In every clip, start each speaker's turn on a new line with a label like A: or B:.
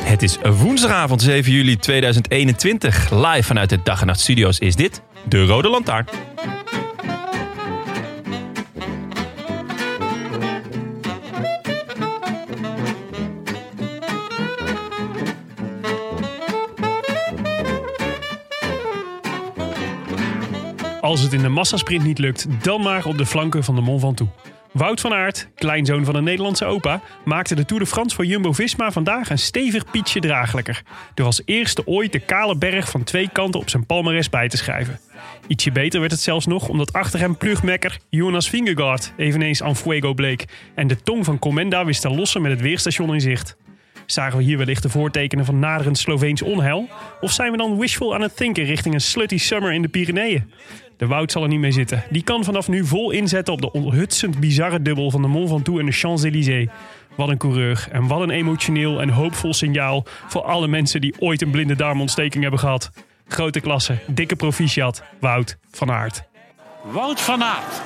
A: Het is woensdagavond 7 juli 2021. Live vanuit de Dag en Nacht Studio's is dit De Rode Lantaarn.
B: Als het in de massasprint niet lukt, dan maar op de flanken van de Mont Ventoux. Wout van Aert, kleinzoon van een Nederlandse opa, maakte de Tour de France voor Jumbo-Visma vandaag een stevig pietje draaglijker. Door als eerste ooit de kale berg van twee kanten op zijn palmares bij te schrijven. Ietsje beter werd het zelfs nog omdat achter hem plugmekker Jonas Vingegaard eveneens aan fuego bleek. En de tong van Comenda wist te lossen met het weerstation in zicht. Zagen we hier wellicht de voortekenen van naderend Sloveens onheil? Of zijn we dan wishful aan het denken richting een slutty summer in de Pyreneeën? De Wout zal er niet mee zitten. Die kan vanaf nu vol inzetten op de onthutsend bizarre dubbel van de Mont Ventoux en de Champs-Élysées. Wat een coureur en wat een emotioneel en hoopvol signaal voor alle mensen die ooit een blinde darmontsteking hebben gehad. Grote klasse, dikke proficiat, Wout van Aert.
C: Wout van Aert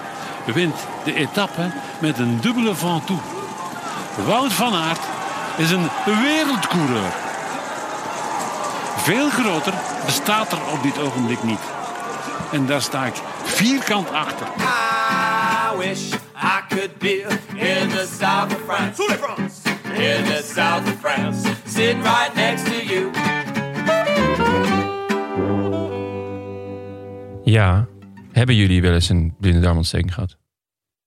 C: wint de etappe met een dubbele van toe. Wout van Aert is een wereldcoureur. Veel groter bestaat er op dit ogenblik niet. En daar sta ik vierkant achter.
D: I wish I could be in the south of France. In the south of France. Sitting right next to you.
A: Ja, hebben jullie wel eens een blinde darmontsteking gehad?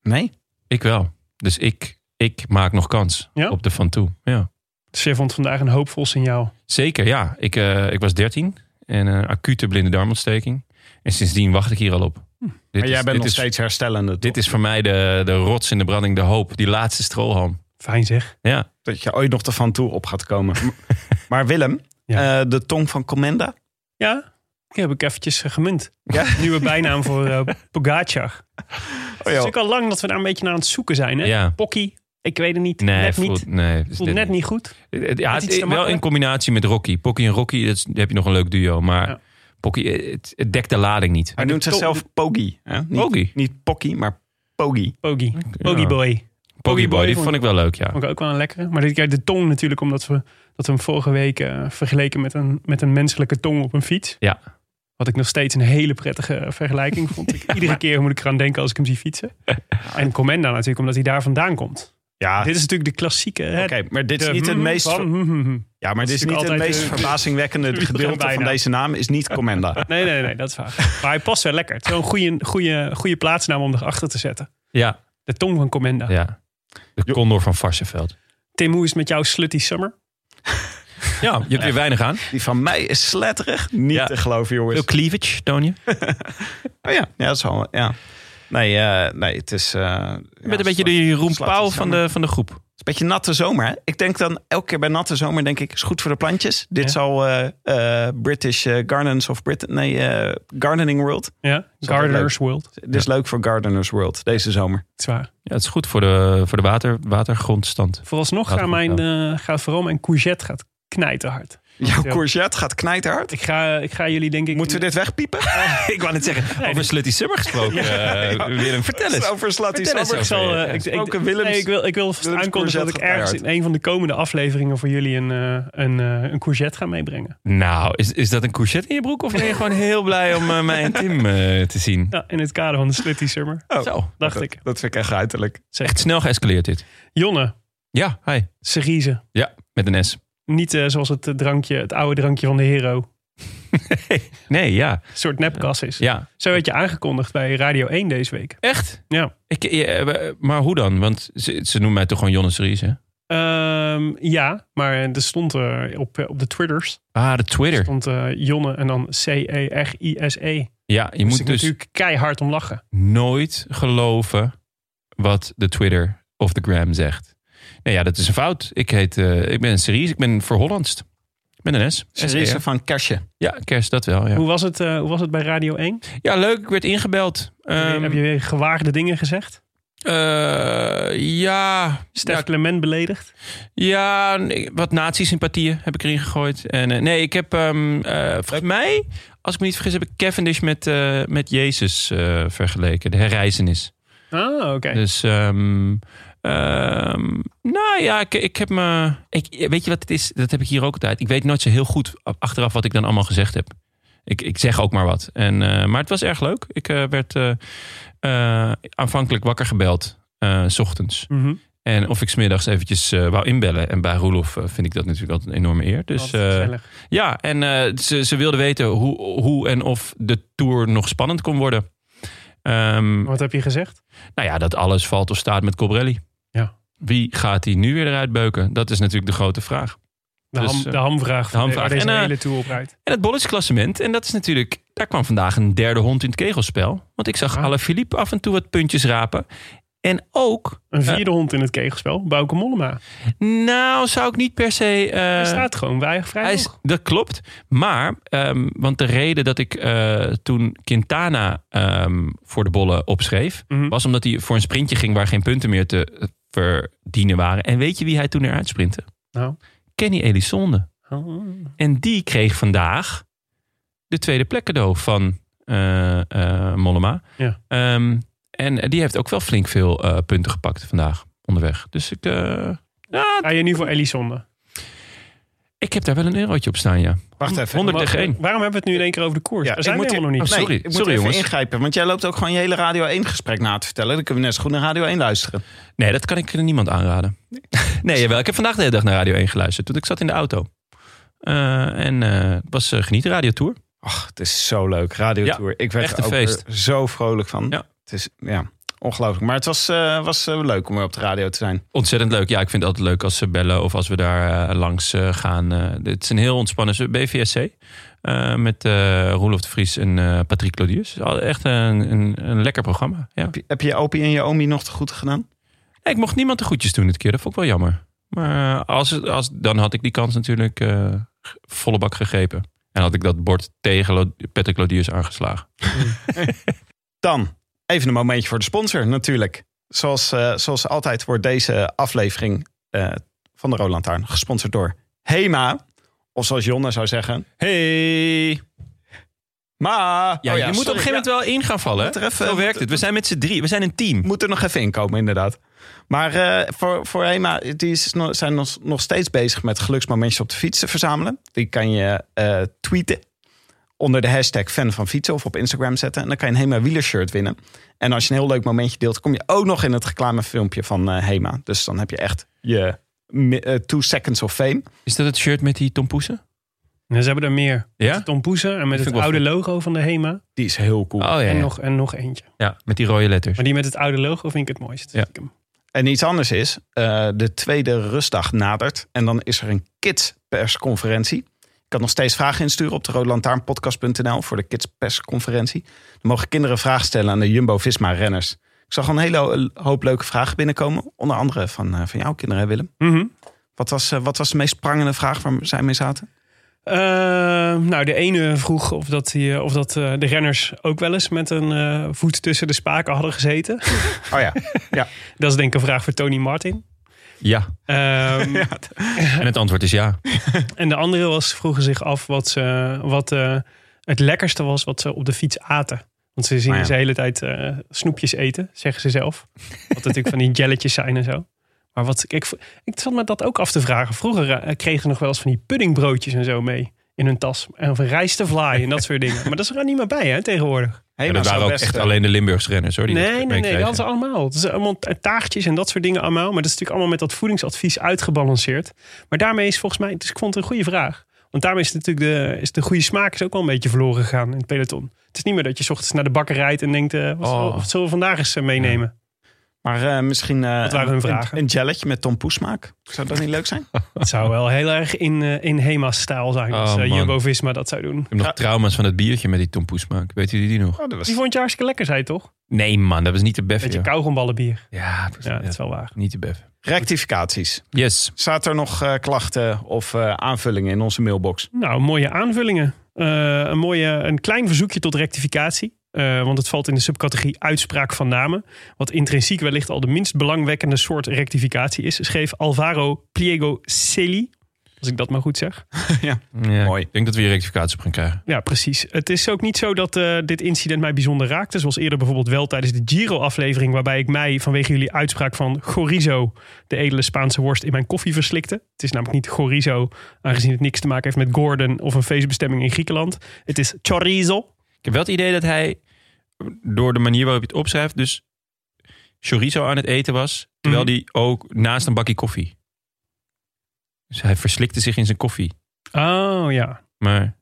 E: Nee?
A: Ik wel. Dus ik, ik maak nog kans
B: Ja?
A: op de Van Toe. Ja.
B: Chef vond vandaag een hoopvol signaal.
A: Zeker, ja. Ik, eh, ik was 13 en een acute blinde darmontsteking. En sindsdien wacht ik hier al op. Dit
E: Maar jij bent
A: dit
E: nog
A: is,
E: steeds herstellende. toch?
A: Dit is voor mij de, de rots in de branding, de hoop. Die laatste strohalm.
B: Fijn zeg.
A: Ja.
E: dat je ooit nog ervan toe op gaat komen. maar Willem,
B: Ja.
E: eh, de tong van Comenda.
B: Ja, die heb ik eventjes eh, gemunt.
E: Ja?
B: Nieuwe bijnaam voor eh Pogacar.
E: Oh,
B: Het
E: joh.
B: is ook al lang dat we daar een beetje naar aan het zoeken zijn. Hè?
A: Ja.
B: Pocky, ik weet het niet.
A: Nee,
B: net
A: voelt,
B: niet.
A: nee, het is
B: Voelt
A: dit-
B: net niet goed.
A: Het- Ja,
B: Net
A: het-
B: iets
A: wel
B: te makkelijk.
A: in combinatie met Rocky. Pocky en Rocky, dat is- heb je nog een leuk duo. Maar
B: Ja.
A: Pocky, eh, het, het dekt de lading niet.
E: Hij noemt zichzelf Pogi. hè? Niet,
A: Pogi.
E: Niet Pocky, maar Pogi.
B: Pogi. Pogi Boy.
A: Pocky Boy,
B: Boy
A: die
B: vond-
A: vond ik wel leuk, ja.
B: Vond ik ook wel een lekkere. Maar dit keer de tong natuurlijk, omdat we, dat we hem vorige week eh, vergeleken met een, met een menselijke tong op een fiets.
A: Ja.
B: Wat ik nog steeds een hele prettige eh, vergelijking vond. Ik- Iedere keer moet ik eraan denken als ik hem zie fietsen. En Comenda natuurlijk, omdat hij daar vandaan komt.
E: Ja,
A: Ah.
B: Dit is natuurlijk de klassieke. hè,
E: oké, maar dit is
B: de
E: niet het
B: mm,
E: meest...
B: van,
E: ver-
B: mm, mm, mm.
E: Ja, maar dit
B: Dat
E: is
B: is
E: niet het
B: natuurlijk
E: meest
B: altijd, eh,
E: verbazingwekkende
B: Wie begint
E: gedeelte van
B: bijna?
E: deze naam is niet Comenda.
B: Nee, nee, nee, dat is waar. Maar hij past wel lekker. Het is wel een goede, goede, goede plaatsnaam om erachter te zetten.
A: Ja,
B: De tong van Comenda.
A: ja. De Condor van Varsenveld.
B: Tim, hoe is het met jouw slutty summer?
A: Ja, je hebt weer weinig aan.
E: Die van mij is sletterig. Niet
A: Ja.
E: te geloven, jongens.
A: Veel cleavage, toon je? Je
E: Oh ja, ja dat is wel... Ja. Nee, eh, nee, het is... eh, ja,
A: bent een beetje
E: sla-
A: de Jeroen
E: slaat
A: Pauw
E: iets
A: van
E: jammer.
A: de, Eh, van de groep.
E: Het is een beetje natte zomer. Hè? Ik denk dan elke keer bij natte zomer denk ik, is goed voor de plantjes. Dit
B: Ja.
E: zal eh, eh, British eh, Gardens of Britain, nee, eh, Gardening World.
B: Ja,
E: altijd
B: Gardener's World.
E: Dit is leuk voor Gardeners World deze zomer.
B: Het is waar.
A: Ja, het is goed voor de, voor de water, watergrondstand.
B: Vooralsnog
A: Gaat
B: gaan
A: goed,
B: mijn, eh, gaat vooral mijn courgette gaat knijten hard.
E: Jouw
B: Ja.
E: courgette gaat knijterhard.
B: Ik ga, ik ga jullie denk ik...
E: Moeten we dit wegpiepen?
A: ik wou net zeggen, over Slutty Summer gesproken, eh, Willem. Vertel eens.
E: Over Slatty
A: Vertel eens
E: Summer.
B: Ik zal, eh,
A: Ja,
B: ik, ik,
E: gesproken Willems-
B: nee, ik wil, ik wil vast
E: Willems
B: aankondigen dat ik
E: courgette gaat
B: ergens in een van de komende afleveringen voor jullie een, eh, een, eh, een courgette ga meebrengen.
A: Nou, is, is dat een courgette in je broek? Of ben je gewoon heel blij om eh, mij en Tim eh, te zien?
B: Ja, in het kader van de Slutty Summer,
E: Oh.
A: Zo,
B: dacht
E: Dat,
B: ik.
E: dat vind ik echt uiterlijk.
A: echt snel geëscaleerd dit.
B: Jonne,
A: Ja, hi.
B: Cerise.
A: Ja, met een S.
B: Niet eh, zoals het eh, drankje, het oude drankje van de hero.
A: Nee, ja.
B: Een soort nepkas is.
A: ja.
B: Zo werd je aangekondigd bij Radio 1 deze week.
A: Echt?
B: Ja.
A: Ik, eh, maar hoe dan? Want ze, ze noemen mij toch gewoon Jonas Ries, hè?
B: Ehm, ja, maar er stond eh, op, eh, op de Twitters.
A: Ah, de Twitter.
B: stond eh, Jonne en dan E C-E-R-I-S-E.
A: Ja, je
B: Moest
A: moet
B: ik
A: dus
B: natuurlijk keihard om lachen.
A: nooit geloven wat de Twitter of de Gram zegt. Nou ja, dat is een fout. Ik, heet, eh, ik ben Series, ik ben voor Hollandst. Ik ben een S.
E: Series
A: SER.
E: van Kersje.
A: Ja, kerst, dat wel. Ja,
B: Hoe, was het, eh, hoe was het bij Radio 1?
A: ja leuk, ik werd ingebeld. Ehm,
B: Heb je weer gewaagde dingen gezegd?
A: eh, ja,
B: Stef
A: ja,
B: Clement beledigd?
A: Ja, nee, wat nazi-sympathieën heb ik erin gegooid. En, eh, nee, ik heb ehm, eh, volgens mij, als ik me niet vergis, heb ik Cavendish met, eh, met Jezus eh, vergeleken. De herreizenis.
B: Ah, oké.
A: Dus, ehm, ehm, nou ja, ik, ik heb me... Ik, weet je wat het is? Dat heb ik hier ook altijd. Ik weet nooit zo heel goed achteraf wat ik dan allemaal gezegd heb. Ik, ik zeg ook maar wat. En, eh, maar het was erg leuk. Ik eh, werd eh, eh, aanvankelijk wakker gebeld, eh, s ochtends.
B: Mhm.
A: En of ik smiddags eventjes eh, wou inbellen. En bij Roelof eh, vind ik dat natuurlijk altijd een enorme eer. Dus
B: Altijd
A: eh,
B: gezellig.
A: ja, en eh, ze, ze wilden weten hoe, hoe en of de tour nog spannend kon worden. Ehm,
B: Wat heb je gezegd?
A: nou ja, dat alles valt of staat met Cobrelli.
B: Ja.
A: Wie gaat die nu weer eruit beuken? Dat is natuurlijk de grote vraag.
B: De,
A: Dus,
B: ham,
A: eh,
B: de hamvraag van
A: hamvraag.
B: deze
A: En, eh,
B: hele tour op rijdt.
A: En het bolletjesklassement. En dat is natuurlijk... Daar kwam vandaag een derde hond in het kegelspel. Want ik zag
B: Ah.
A: alle Philippe af en toe wat puntjes rapen. En ook...
B: Een vierde hond in het kegelspel, Bouke Mollema.
A: Nou, zou ik niet per se... eh,
B: Hij staat gewoon bij vrij
A: Hij is-
B: hoog.
A: dat klopt. Maar, ehm, want de reden dat ik eh, toen Quintana ehm, voor de bollen opschreef,
B: Mhm.
A: was omdat hij voor een sprintje ging waar geen punten meer te eh, verdienen waren. En weet je wie hij toen eruit sprintte?
B: Nou.
A: Kenny Elissonde.
B: Oh.
A: En die kreeg vandaag de tweede plek cadeau van eh, eh, Mollema.
B: Ja.
A: Ehm, en die heeft ook wel flink veel eh, punten gepakt vandaag onderweg. Dus ik, eh, ja,
B: Ga je nu voor Elisonde?
A: ik heb daar wel een eurotje op staan, ja.
F: Wacht even.
A: 100
B: Maar
A: tegen 1.
B: Waarom hebben we het nu in één keer over de koers? Daar zijn we helemaal nog niet.
A: Oh,
E: Nee,
A: sorry.
E: ik moet
A: Sorry,
E: even
A: jongens.
E: ingrijpen. Want jij loopt ook gewoon je hele Radio 1 gesprek na te vertellen. Dan kunnen we net zo goed naar Radio 1 luisteren.
A: Nee, dat kan ik niemand aanraden. Nee, jawel. Ik heb vandaag de hele dag naar Radio 1 geluisterd. Toen ik zat in de auto. Eh, en eh, het was eh, genieten Radio Tour.
E: Ach, het is zo leuk. Radio Tour. ik werd
A: echt
E: er
A: een
E: ook weer
A: feest.
E: zo vrolijk van.
A: Ja.
E: Het is ja, ongelooflijk. Maar het was, eh, was eh, leuk om weer op de radio te zijn.
A: Ontzettend leuk. Ja, ik vind het altijd leuk als ze bellen of als we daar eh, langs eh, gaan. Eh, het is een heel ontspannen ze- BVSC. eh, met eh Roelof de Vries en eh, Patrick Claudius. Al Echt een, een, een lekker programma. Ja.
E: Heb je, heb je je opie en je omi nog te goed gedaan?
A: Nee, ik mocht niemand de goedjes doen dit keer. Dat vond ik wel jammer. Maar eh, als, het- als, dan had ik die kans natuurlijk eh, g- volle bak gegrepen. En had ik dat bord tegen Lo- Patrick Lodiers aangeslagen.
E: Dan even een momentje voor de sponsor natuurlijk. Zoals, eh, zoals altijd wordt deze aflevering eh, van de Roland Taarn gesponsord door Hema. Of zoals Jonna zou zeggen. Hey! Ma!
A: Ja,
E: Oh
A: je moet op
E: sorry.
A: een gegeven moment wel in gaan vallen.
E: Moet er even-
A: Zo werkt het. We zijn met z'n drie. We zijn een team.
E: moet er nog even inkomen, inderdaad. Maar eh, voor, voor Hema, die is, nog- zijn nog, nog steeds bezig met geluksmomentjes op de fiets te verzamelen. Die kan je eh, tweeten onder de hashtag fan van fietsen of op Instagram zetten. En dan kan je een Hema wielershirt winnen. En als je een heel leuk momentje deelt, kom je ook nog in het reclamefilmpje van eh, Hema. Dus dan heb je echt je mi- eh, two seconds of fame.
A: Is dat het shirt met die tompoesen?
B: Ja, ze hebben er meer.
A: Ja?
B: Tom Poeser en met
A: vind
B: het
A: ik wel
B: oude logo van de HEMA.
E: Die is heel cool.
A: Oh ja,
B: En,
A: ja.
B: nog, en nog eentje.
A: ja. Met die rode letters.
B: Maar die met het oude logo vind ik het mooist.
A: Ja.
B: Stiekem.
E: En iets anders is, eh, de tweede rustdag nadert. En dan is er een kidspersconferentie. Je kan nog steeds vragen insturen op de roodlantaarnpodcast.nl voor de kidspersconferentie. Dan mogen kinderen vragen stellen aan de Jumbo-Visma-renners. Ik zag al een hele ho- hoop leuke vragen binnenkomen. Onder andere van, eh, van jouw kinderen, hè, Willem.
B: Mhm.
E: Wat was, eh, wat was de meest prangende vraag waar zij mee zaten?
B: Eh, nou, de ene vroeg of, dat die, of dat, eh, de renners ook wel eens met een eh, voet tussen de spaken hadden gezeten.
E: Oh ja,
B: Dat is denk ik een vraag voor Tony Martin.
A: Ja.
B: Ehm,
A: En het antwoord is ja.
B: En de andere was, vroegen zich af wat, ze, wat eh, het lekkerste was wat ze op de fiets aten. Want ze zien
E: Oh ja.
B: ze de hele tijd eh, snoepjes eten, zeggen ze zelf. Wat natuurlijk van die jelletjes zijn en zo. Maar wat, ik, ik, ik zat me dat ook af te vragen. Vroeger eh, kregen ze nog wel eens van die puddingbroodjes en zo mee in hun tas. En van rijst te vlaai en dat soort dingen. Maar dat is er niet meer bij hè, tegenwoordig.
E: Hey,
A: En dat waren ook
E: eh,
A: echt alleen de Limburgse renners hoor. Die dat
B: eh, Nee, nee, nee,
A: meekregen.
B: dat is allemaal. Het is allemaal t- taartjes en dat soort dingen allemaal. Maar dat is natuurlijk allemaal met dat voedingsadvies uitgebalanceerd. Maar daarmee is volgens mij, dus ik vond het een goede vraag. Want daarmee is natuurlijk de, is de goede smaak is ook wel een beetje verloren gegaan in het peloton. Het is niet meer dat je 's ochtends naar de bakker rijdt en denkt, eh, wat,
A: Oh.
B: zullen, we- wat zullen we vandaag eens eh, meenemen?
E: Maar eh, misschien eh,
B: Wat waren hun
E: een,
B: vragen?
E: een jelletje met Tom Poesmaak. Zou dat niet leuk zijn?
B: Het zou wel heel erg in, eh, in Hema-stijl zijn
A: Oh,
B: als eh,
A: man.
B: Jumbo-Visma dat zou doen.
A: Ik heb nog trauma's van het biertje met die Tom Poesmaak. Weet jullie die nog?
E: Oh, dat was...
B: Die vond je hartstikke lekker, zei je toch?
A: Nee man, dat was niet de beffen.
B: Beetje
A: joh.
B: kauwgomballenbier.
A: Ja, precies.
B: Ja, dat is
A: Ja,
B: wel waar.
A: niet de beffen.
E: Rectificaties.
A: Yes.
E: Zaten er nog eh, klachten of eh, aanvullingen in onze mailbox?
B: Nou, mooie aanvullingen. Eh, een, mooie, een klein verzoekje tot rectificatie. Eh, want het valt in de subcategorie uitspraak van namen. Wat intrinsiek wellicht al de minst belangwekkende soort rectificatie is. Schreef Alvaro Pliego Celi. Als ik dat maar goed zeg.
A: Ja,
E: Mooi.
A: Ik denk dat we hier rectificatie op gaan krijgen.
B: Ja, precies. Het is ook niet zo dat eh, dit incident mij bijzonder raakte. Zoals eerder bijvoorbeeld wel tijdens de Giro-aflevering... waarbij ik mij vanwege jullie uitspraak van chorizo... de edele Spaanse worst in mijn koffie verslikte. Het is namelijk niet chorizo, aangezien het niks te maken heeft met Gordon... of een feestbestemming in Griekenland. Het is chorizo.
A: Ik heb wel het idee dat hij door de manier waarop hij het opschrijft, dus chorizo aan het eten was, terwijl
B: Mhm.
A: hij ook naast een bakje koffie. Dus hij verslikte zich in zijn koffie.
B: Oh, ja.
A: Maar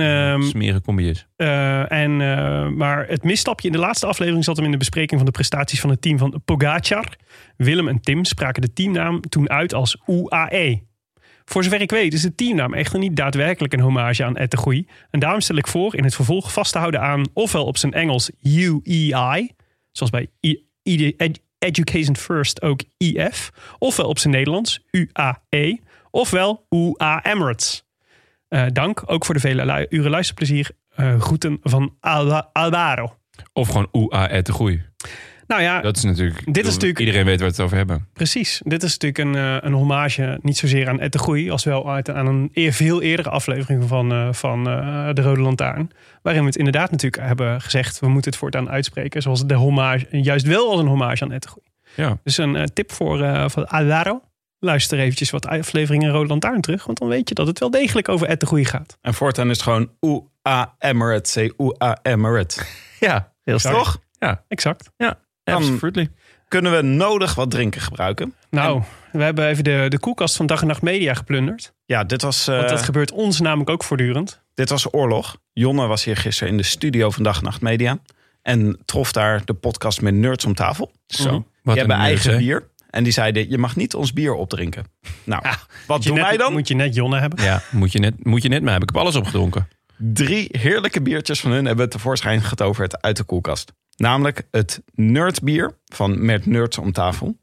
A: um,
B: ehm,
A: smeren combi is.
B: eh, en, eh, maar het misstapje in de laatste aflevering zat hem in de bespreking van de prestaties van het team van Pogacar. Willem en Tim spraken de teamnaam toen uit als UAE. Voor zover ik weet is de teamnaam echter niet daadwerkelijk een hommage aan Ettegoei. En daarom stel ik voor in het vervolg vast te houden aan ofwel op zijn Engels UEI, zoals bij I- I- Ed- Education First ook IF, ofwel op zijn Nederlands UAE, ofwel UA Emirates. Eh, dank ook voor de vele lu- uren luisterplezier. Eh, groeten van Alba- Alvaro.
A: Of gewoon oea et de groei.
B: Nou ja,
A: Dat is natuurlijk. ik bedoel,
B: natuurlijk-
A: Iedereen weet waar we het over hebben.
B: precies. Dit is natuurlijk een, eh, een hommage, niet zozeer aan Ed de Groei, als wel uit, aan een eer, veel eerdere aflevering van, eh, van eh, De Rode Lantaarn. Waarin we het inderdaad natuurlijk hebben gezegd, we moeten het voortaan uitspreken. Zoals de hommage, juist wel als een hommage aan Ed de Groei.
A: Ja.
B: Dus een eh, tip voor eh van Alvaro. Luister eventjes wat afleveringen Rode Lantaarn terug, want dan weet je dat het wel degelijk over Ed de Groei gaat.
E: En voortaan is het gewoon UA Emirates. Say UA Emirates.
A: Ja, heel
E: Toch?
B: Exact.
A: Absolutely.
E: Kunnen we nodig wat drinken gebruiken?
B: Nou, we hebben even de, de koelkast van Dag en Nacht Media geplunderd.
E: Ja, dit was, eh,
B: Want dat gebeurt ons namelijk ook voortdurend.
E: dit was oorlog. Jonne was hier gisteren in de studio van Dag en Nacht Media. En trof daar de podcast met Nerds om tafel.
A: Zo.
E: Mhm.
A: Wat
E: Die hebben
A: een eh,
E: eigen
A: nerd, hè?
E: bier. En die zeiden, je mag niet ons bier opdrinken. Nou, wat
B: Moet je
E: doen
B: net-
E: wij dan?
B: Moet je net Jonne hebben.
A: Ja, moet je, net, moet je net maar hebben. Ik heb alles opgedronken.
E: Drie heerlijke biertjes van hun hebben we tevoorschijn getoverd uit de koelkast. Namelijk het Nerdbier van Met Nerds om tafel.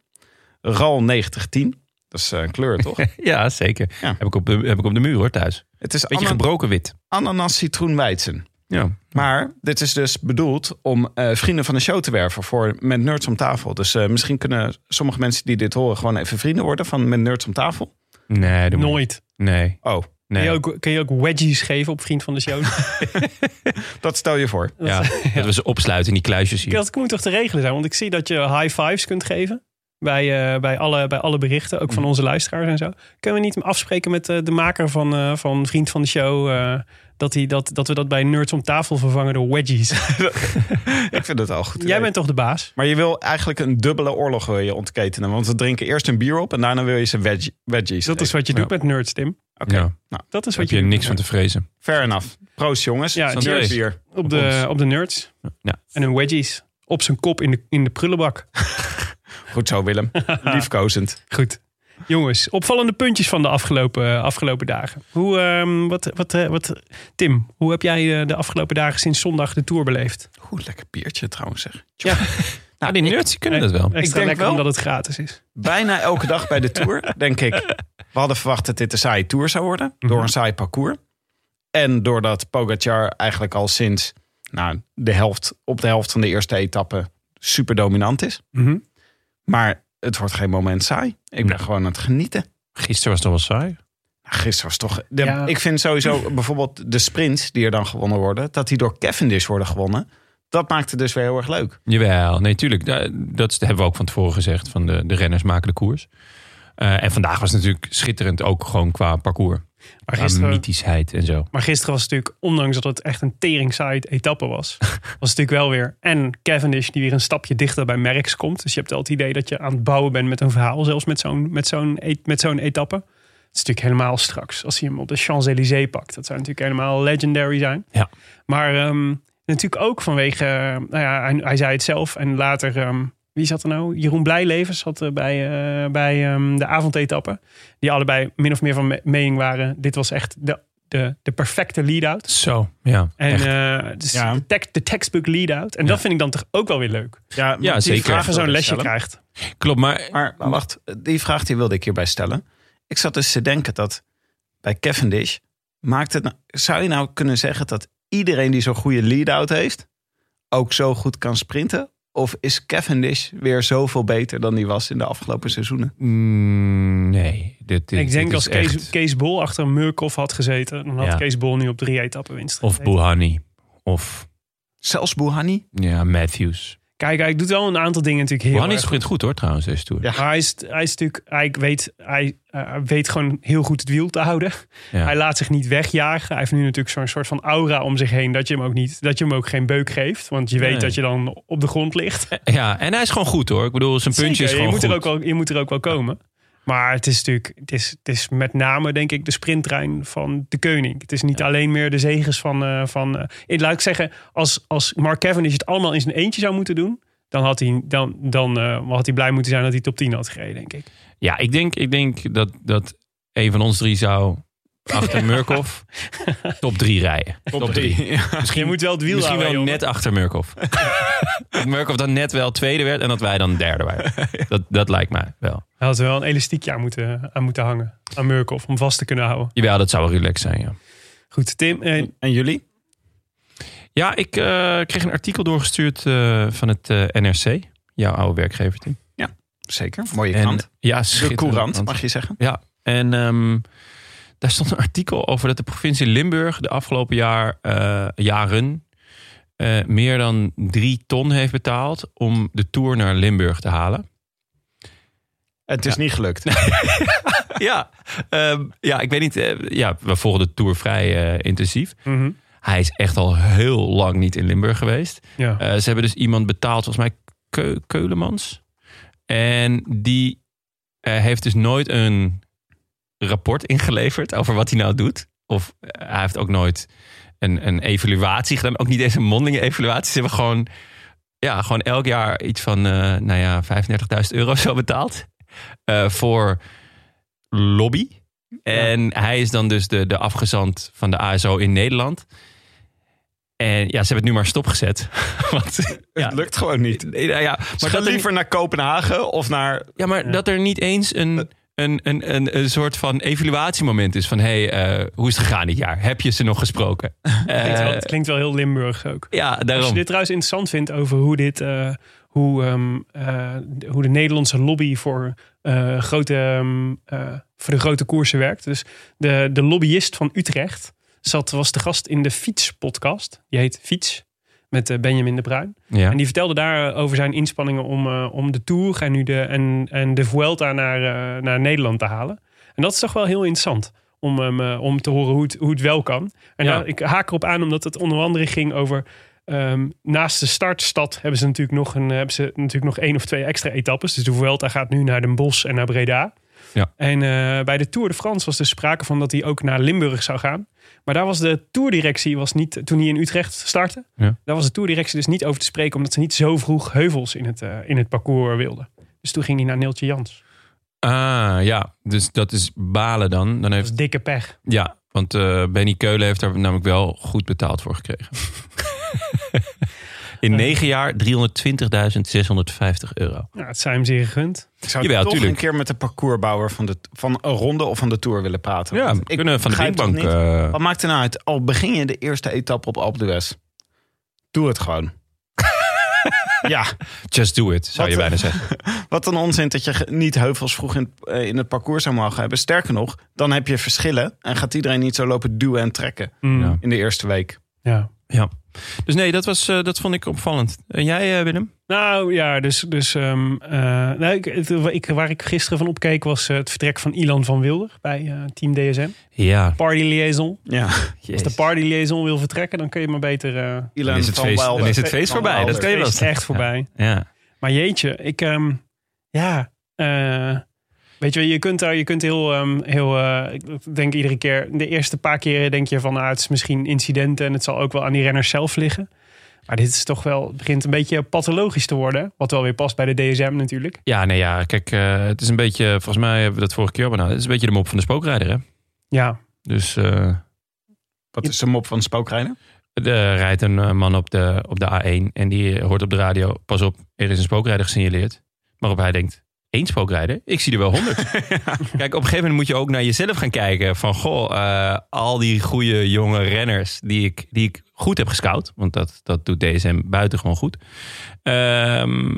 E: RAL 9010. Dat is eh, een kleur, toch?
A: ja, zeker.
E: Ja.
A: Heb, ik op de, heb ik op de muur hoor thuis.
E: Het is
A: Beetje
E: ana-
A: gebroken wit.
E: ananas citroen weizen.
A: Ja.
E: Maar dit is dus bedoeld om eh, vrienden van de show te werven voor Met Nerds om tafel. Dus eh, misschien kunnen sommige mensen die dit horen gewoon even vrienden worden van Met Nerds om tafel.
A: Nee, doe maar.
B: Nooit.
A: Nee.
E: Oh,
A: nee.
B: Kun, je ook, kun je ook wedgies geven op Vriend van de Show?
E: dat stel je voor.
A: Ja, dat we ze opsluiten in die kluisjes hier.
B: dat moet toch te regelen zijn? Want ik zie dat je high fives kunt geven. Bij, eh, bij, alle, bij alle berichten, ook van
A: Mm.
B: onze luisteraars en zo. Kunnen we niet afspreken met eh, de maker van, eh, van Vriend van de Show... eh, dat, hij dat, dat we dat bij Nerds om tafel vervangen door wedgies?
E: Ik vind het al goed. idee.
B: Jij bent toch de baas?
E: Maar je wil eigenlijk een dubbele oorlog wil je ontketenen. Want we drinken eerst een bier op en daarna wil je ze veg- veggies.
B: Dat is wat je
A: Ja.
B: doet met nerds, Tim.
E: Oké.
A: Ja.
B: Dat is
A: Daar
B: wat
A: heb je
B: doet
A: niks
B: met
A: van te vrezen.
E: Fair enough. Proost jongens.
B: Ja,
E: Zo'n
A: cheers.
E: bier.
B: Op
A: Op
B: de,
A: ons.
B: op de nerds.
A: Ja.
B: En een wedgies. Op zijn kop in de, in de prullenbak.
E: Goed zo Willem. Liefkozend.
B: Goed. Jongens, opvallende puntjes van de afgelopen, eh, afgelopen dagen. Hoe, ehm, wat, wat, eh, wat, Tim, hoe heb jij eh, de afgelopen dagen sinds zondag de Tour beleefd?
E: Goed lekker biertje trouwens zeg.
A: Nou, die nerds die kunnen dat wel.
B: Extra
E: denk
B: lekker
E: wel.
B: omdat het gratis is.
E: bijna elke dag bij de Tour, denk ik. We hadden verwacht dat dit een saaie Tour zou worden.
B: Mhm.
E: Door een saai parcours. En doordat Pogacar eigenlijk al sinds nou, de helft, op de helft van de eerste etappe super dominant is.
B: Mhm.
E: Maar het wordt geen moment saai. Ik ben
A: Nee.
E: gewoon aan het genieten.
A: Gisteren was het wel saai.
E: Gisteren was toch... de-
B: Ja.
E: Ik vind sowieso bijvoorbeeld de sprints die er dan gewonnen worden... dat die door Cavendish worden gewonnen. Dat maakt het dus weer heel erg leuk.
A: Jawel, nee, tuurlijk. Da- Dat is- hebben we ook van tevoren gezegd. Van de, de renners maken de koers. Eh, en vandaag was het natuurlijk schitterend ook gewoon qua parcours.
B: Maar
A: Aan
B: gisteren,
A: mythischheid en zo.
B: maar gisteren was het natuurlijk, ondanks dat het echt een tering saaie etappe was, was het natuurlijk wel weer. En Cavendish die weer een stapje dichter bij Merckx komt. Dus je hebt wel het idee dat je aan het bouwen bent met een verhaal, zelfs met zo'n, met zo'n, e- met zo'n etappe. Het is natuurlijk helemaal straks, als hij hem op de Champs-Élysées pakt. Dat zou natuurlijk helemaal legendary zijn.
A: Ja.
B: Maar ehm, natuurlijk ook vanwege, eh, nou ja, hij, hij zei het zelf en later, ehm, wie zat er nou? Jeroen Blijlevens zat er bij, eh, bij ehm, de avondetappen. Die allebei min of meer van me- mening waren. Dit was echt de, de, de perfecte lead-out.
A: Zo, ja.
B: En
A: echt.
B: eh, dus
E: Ja.
B: de, tek- de textbook lead-out. En dat vind ik dan toch ook wel weer leuk.
E: Ja, maar
A: Ja,
E: die
A: zeker.
E: vraag
B: Als je zo'n
E: wilde ik
B: lesje
E: stellen.
B: krijgt.
A: Klopt, maar
E: Maar wacht, die vraag die wilde ik hierbij stellen. Ik zat dus te denken dat bij Cavendish... Maakt het nou- zou je nou kunnen zeggen dat iedereen die zo'n goede lead-out heeft... ook zo goed kan sprinten? Of is Cavendish weer zoveel beter dan die was in de afgelopen seizoenen?
A: mm, nee. Dit, dit-
B: ik denk
A: dit
B: als
A: is
B: Kees,
A: echt-
B: Kees Bol achter Murkoff had gezeten, dan had
A: Ja.
B: Kees Bol nu op drie etappen winst.
A: Of
B: gezeten.
A: Buhani. Of
E: Zelfs Bouhanni?
A: ja, Matthews.
B: Kijk, hij doet wel een aantal dingen natuurlijk heel
A: Buhani
B: erg
A: sprint goed hoor trouwens deze Tour.
E: Ja.
B: Maar hij is, hij is natuurlijk, hij weet, hij eh, weet gewoon heel goed het wiel te houden.
A: Ja.
B: Hij laat zich niet wegjagen. Hij heeft nu natuurlijk zo'n soort van aura om zich heen dat je hem ook niet, dat je hem ook geen beuk geeft, want je weet
A: Nee.
B: dat je dan op de grond ligt.
A: Ja, en hij is gewoon goed hoor. Ik bedoel, zijn puntje is
B: Zeker, je
A: gewoon
B: moet
A: goed.
B: er ook wel, je moet er ook wel komen. Maar het is natuurlijk, het is, het is met name denk ik de sprinttrein van de koning. Het is niet alleen meer de zegens van, eh, van eh, ik- laat ik zeggen, als, als Mark Cavendish het allemaal in zijn eentje zou moeten doen, dan had hij, dan, dan, eh, had hij blij moeten zijn dat hij top 10 had gereden, denk ik.
A: Ja, ik denk, ik denk dat, dat een van ons drie zou achter Murkoff top drie rijden. Top drie.
B: Je moet wel het wiel
A: Misschien wel
B: houden, jongen.
A: net achter Murkoff. Dat Murkoff dan net wel tweede werd en dat wij dan derde waren. Dat, dat lijkt mij wel.
B: Hij had er wel een elastiekje aan moeten, aan moeten hangen. Aan Murkoff, om vast te kunnen houden.
A: Jawel, dat zou wel relaxed zijn, ja.
B: Goed, Tim. eh,
E: En jullie?
A: Ja, ik eh, kreeg een artikel doorgestuurd eh, van het eh, NRC. Jouw oude werkgever, Tim.
E: Zeker. Mooie
A: En,
E: krant.
A: ja,
E: De
A: schitterende
E: courant,
A: krant.
E: mag je zeggen.
A: En ehm, daar stond een artikel over dat de provincie Limburg de afgelopen jaar, eh, jaren eh, meer dan drie ton heeft betaald om de tour naar Limburg te halen.
E: Het is niet gelukt.
A: ja, ehm, ja, ik weet niet. eh, ja, we volgen de tour vrij eh, intensief.
B: mhm,
A: Hij is echt al heel lang niet in Limburg geweest.
B: ja.
A: Eh, ze hebben dus iemand betaald, volgens mij Keu- Keulemans. En die eh, heeft dus nooit een rapport ingeleverd over wat hij nou doet. Of eh, hij heeft ook nooit een, een evaluatie gedaan. Ook niet eens een mondelinge evaluatie. Ze hebben gewoon, ja, gewoon elk jaar iets van eh, nou ja, 35.000 euro zo betaald. eh, voor lobby. En hij is dan dus de, de afgezant van de ASO in Nederland. En ja, ze hebben het nu maar stopgezet. Want, ja,
E: Het lukt gewoon niet.
A: Nee, nou ja,
E: Maar
A: maar dat er
E: liever naar Kopenhagen of naar...
A: ja, maar dat er niet eens een, een, een, een, een soort van evaluatiemoment is. Van, hé, hey, eh, hoe is het gegaan dit jaar? Heb je ze nog gesproken?
B: Klinkt wel-
A: Eh,
B: het klinkt wel heel Limburgs ook.
A: ja,
B: Als je
A: daarom.
B: dit trouwens interessant vindt over hoe dit... eh, hoe, ehm, eh, de- hoe de Nederlandse lobby voor, eh, grote, ehm, eh, voor de grote koersen werkt. Dus de, de lobbyist van Utrecht zat, was de gast in de Fiets-podcast. Die heet Fiets, met eh, Benjamin de Bruin.
A: Ja.
B: En die vertelde daar eh, over zijn inspanningen om, eh, om de Tour en, nu de, en, en de Vuelta naar, eh, naar Nederland te halen. En dat is toch wel heel interessant om, hem, eh, om te horen hoe het, hoe het wel kan. En
A: Ja.
B: daar- ik haak erop aan omdat het onder andere ging over... ehm, naast de startstad hebben ze, natuurlijk nog een, hebben ze natuurlijk nog één of twee extra etappes. Dus de Vuelta gaat nu naar Den Bosch en naar Breda.
A: Ja.
B: En eh, bij de Tour de France was dus sprake van dat hij ook naar Limburg zou gaan. Maar daar was de toerdirectie was niet, toen hij in Utrecht startte,
A: Ja.
B: daar was de toerdirectie dus niet over te spreken, omdat ze niet zo vroeg heuvels in het, eh, in het parcours wilden. Dus toen ging hij naar Neeltje Jans.
A: Ah, ja. Dus dat is balen dan. dan
B: Dat
A: heeft,
B: is dikke pech.
A: ja, want eh, Benny Keulen heeft daar namelijk wel goed betaald voor gekregen. In negen jaar 320.650 euro.
B: Nou, het zijn hem zeer gegund.
E: Ik zou
A: Jawel,
E: toch
A: tuurlijk.
E: een keer met de parcoursbouwer van, de, van een ronde of van de Tour willen praten.
A: Ja,
E: Want
A: we
E: ik
A: kunnen van de
E: begrijp toch
A: drinkbank...
E: niet-
A: eh,
E: Wat maakt het nou uit? Al begin je de eerste etappe op Alpe d'Huez. Doe het gewoon. ja,
A: just do it, zou
E: Wat-
A: je bijna zeggen.
E: wat een onzin dat je ge- niet heuvels vroeg in, eh, in het parcours zou mogen hebben. Sterker nog, dan heb je verschillen en gaat iedereen niet zo lopen duwen en trekken
B: Mm.
A: Ja.
B: Ja.
E: in de eerste week.
A: Ja. Dus nee, dat, was, eh, dat vond ik opvallend. En jij, eh, Willem?
B: Nou ja, dus, dus ehm, eh, nou, ik, het- ik, waar ik gisteren van opkeek was eh, het vertrek van Ilan van Wilder bij eh, Team DSM.
A: Ja.
B: Party liaison.
E: Ja,
B: Als de party liaison wil vertrekken, dan kun je maar beter... eh,
E: Elon
A: Dan is het
E: van
A: feest,
E: Wilder.
A: dan is het feest
E: Van
A: voorbij. Dat
E: Wilder.
A: kan je wel
B: is
A: zeggen.
B: echt voorbij.
A: Ja.
B: Maar jeetje, ik... ehm, ja, eh, weet je, wel, je kunt daar, je kunt heel... ehm, heel eh, ik denk iedere keer, de eerste paar keren denk je van... ah, het is misschien incidenten en het zal ook wel aan die renners zelf liggen. Maar dit is toch wel, het begint een beetje pathologisch te worden. Wat wel weer past bij de DSM natuurlijk.
A: Ja, nee, ja. Kijk, eh, het is een beetje, volgens mij hebben we dat vorige keer al benaderd. Het is een beetje de mop van de spookrijder, hè?
B: Ja,
A: Dus eh,
E: Wat is een mop van spookrijden?
A: er rijdt een eh, man op de, op de A1 en die hoort op de radio, pas op, er is een spookrijder gesignaleerd. Waarop hij denkt, één spookrijder? Ik zie er wel honderd. Kijk, op een gegeven moment moet je ook naar jezelf gaan kijken van, goh, eh, al die goede jonge renners die ik, die ik goed heb gescout, want dat, dat doet DSM buitengewoon goed. Ehm,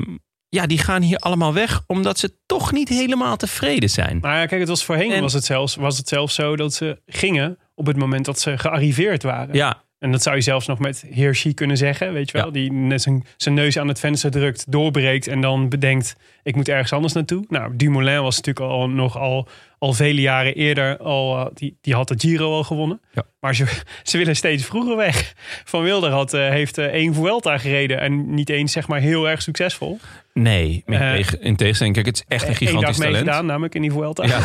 A: ja, die gaan hier allemaal weg omdat ze toch niet helemaal tevreden zijn.
B: Nou ja, kijk, het was voorheen
A: En-
B: was, het zelfs, was het zelfs zo dat ze gingen op het moment dat ze gearriveerd waren.
A: Ja,
B: En dat zou je zelfs nog met Hershey kunnen zeggen, weet je wel.
A: Ja.
B: Die net zijn, zijn neus aan het venster drukt, doorbreekt en dan bedenkt... ik moet ergens anders naartoe. Nou, Dumoulin was natuurlijk al, nog al, al vele jaren eerder... Al, eh, die, die had de Giro al gewonnen.
A: Ja.
B: Maar ze, ze willen steeds vroeger weg. Van Wilder had, eh, heeft eh, één Vuelta gereden... en niet eens zeg maar heel erg succesvol.
A: nee. maar
B: Eh,
A: in tegen- in tegenstelling, kijk, het is echt een
B: Eén dag
A: gigantisch talent.
B: meegedaan namelijk in die Vuelta.
A: Ja.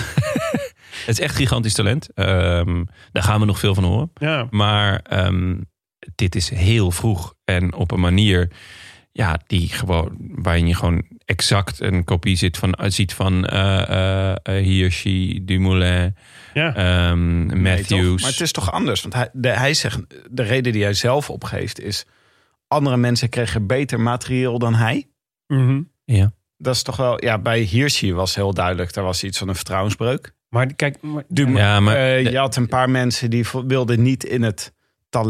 A: Het is echt gigantisch talent. Ehm, daar gaan we nog veel van horen.
B: ja.
A: Maar ehm, dit is heel vroeg en op een manier ja, die gewoon, waarin je gewoon exact een kopie zit van, ziet van eh eh Hirschi, Dumoulin,
B: ja.
A: ehm,
E: Nee,
A: Matthews.
E: toch? maar het is toch anders? Want hij, de, hij zegt, de reden die hij zelf opgeeft is... andere mensen kregen beter materieel dan hij.
B: Mhm.
A: ja.
E: Dat is toch wel... Ja, bij Hirschi was heel duidelijk. Daar was iets van een vertrouwensbreuk.
B: Maar kijk, maar,
A: ja, maar
E: Eh, je had een paar mensen die vo- wilden niet in het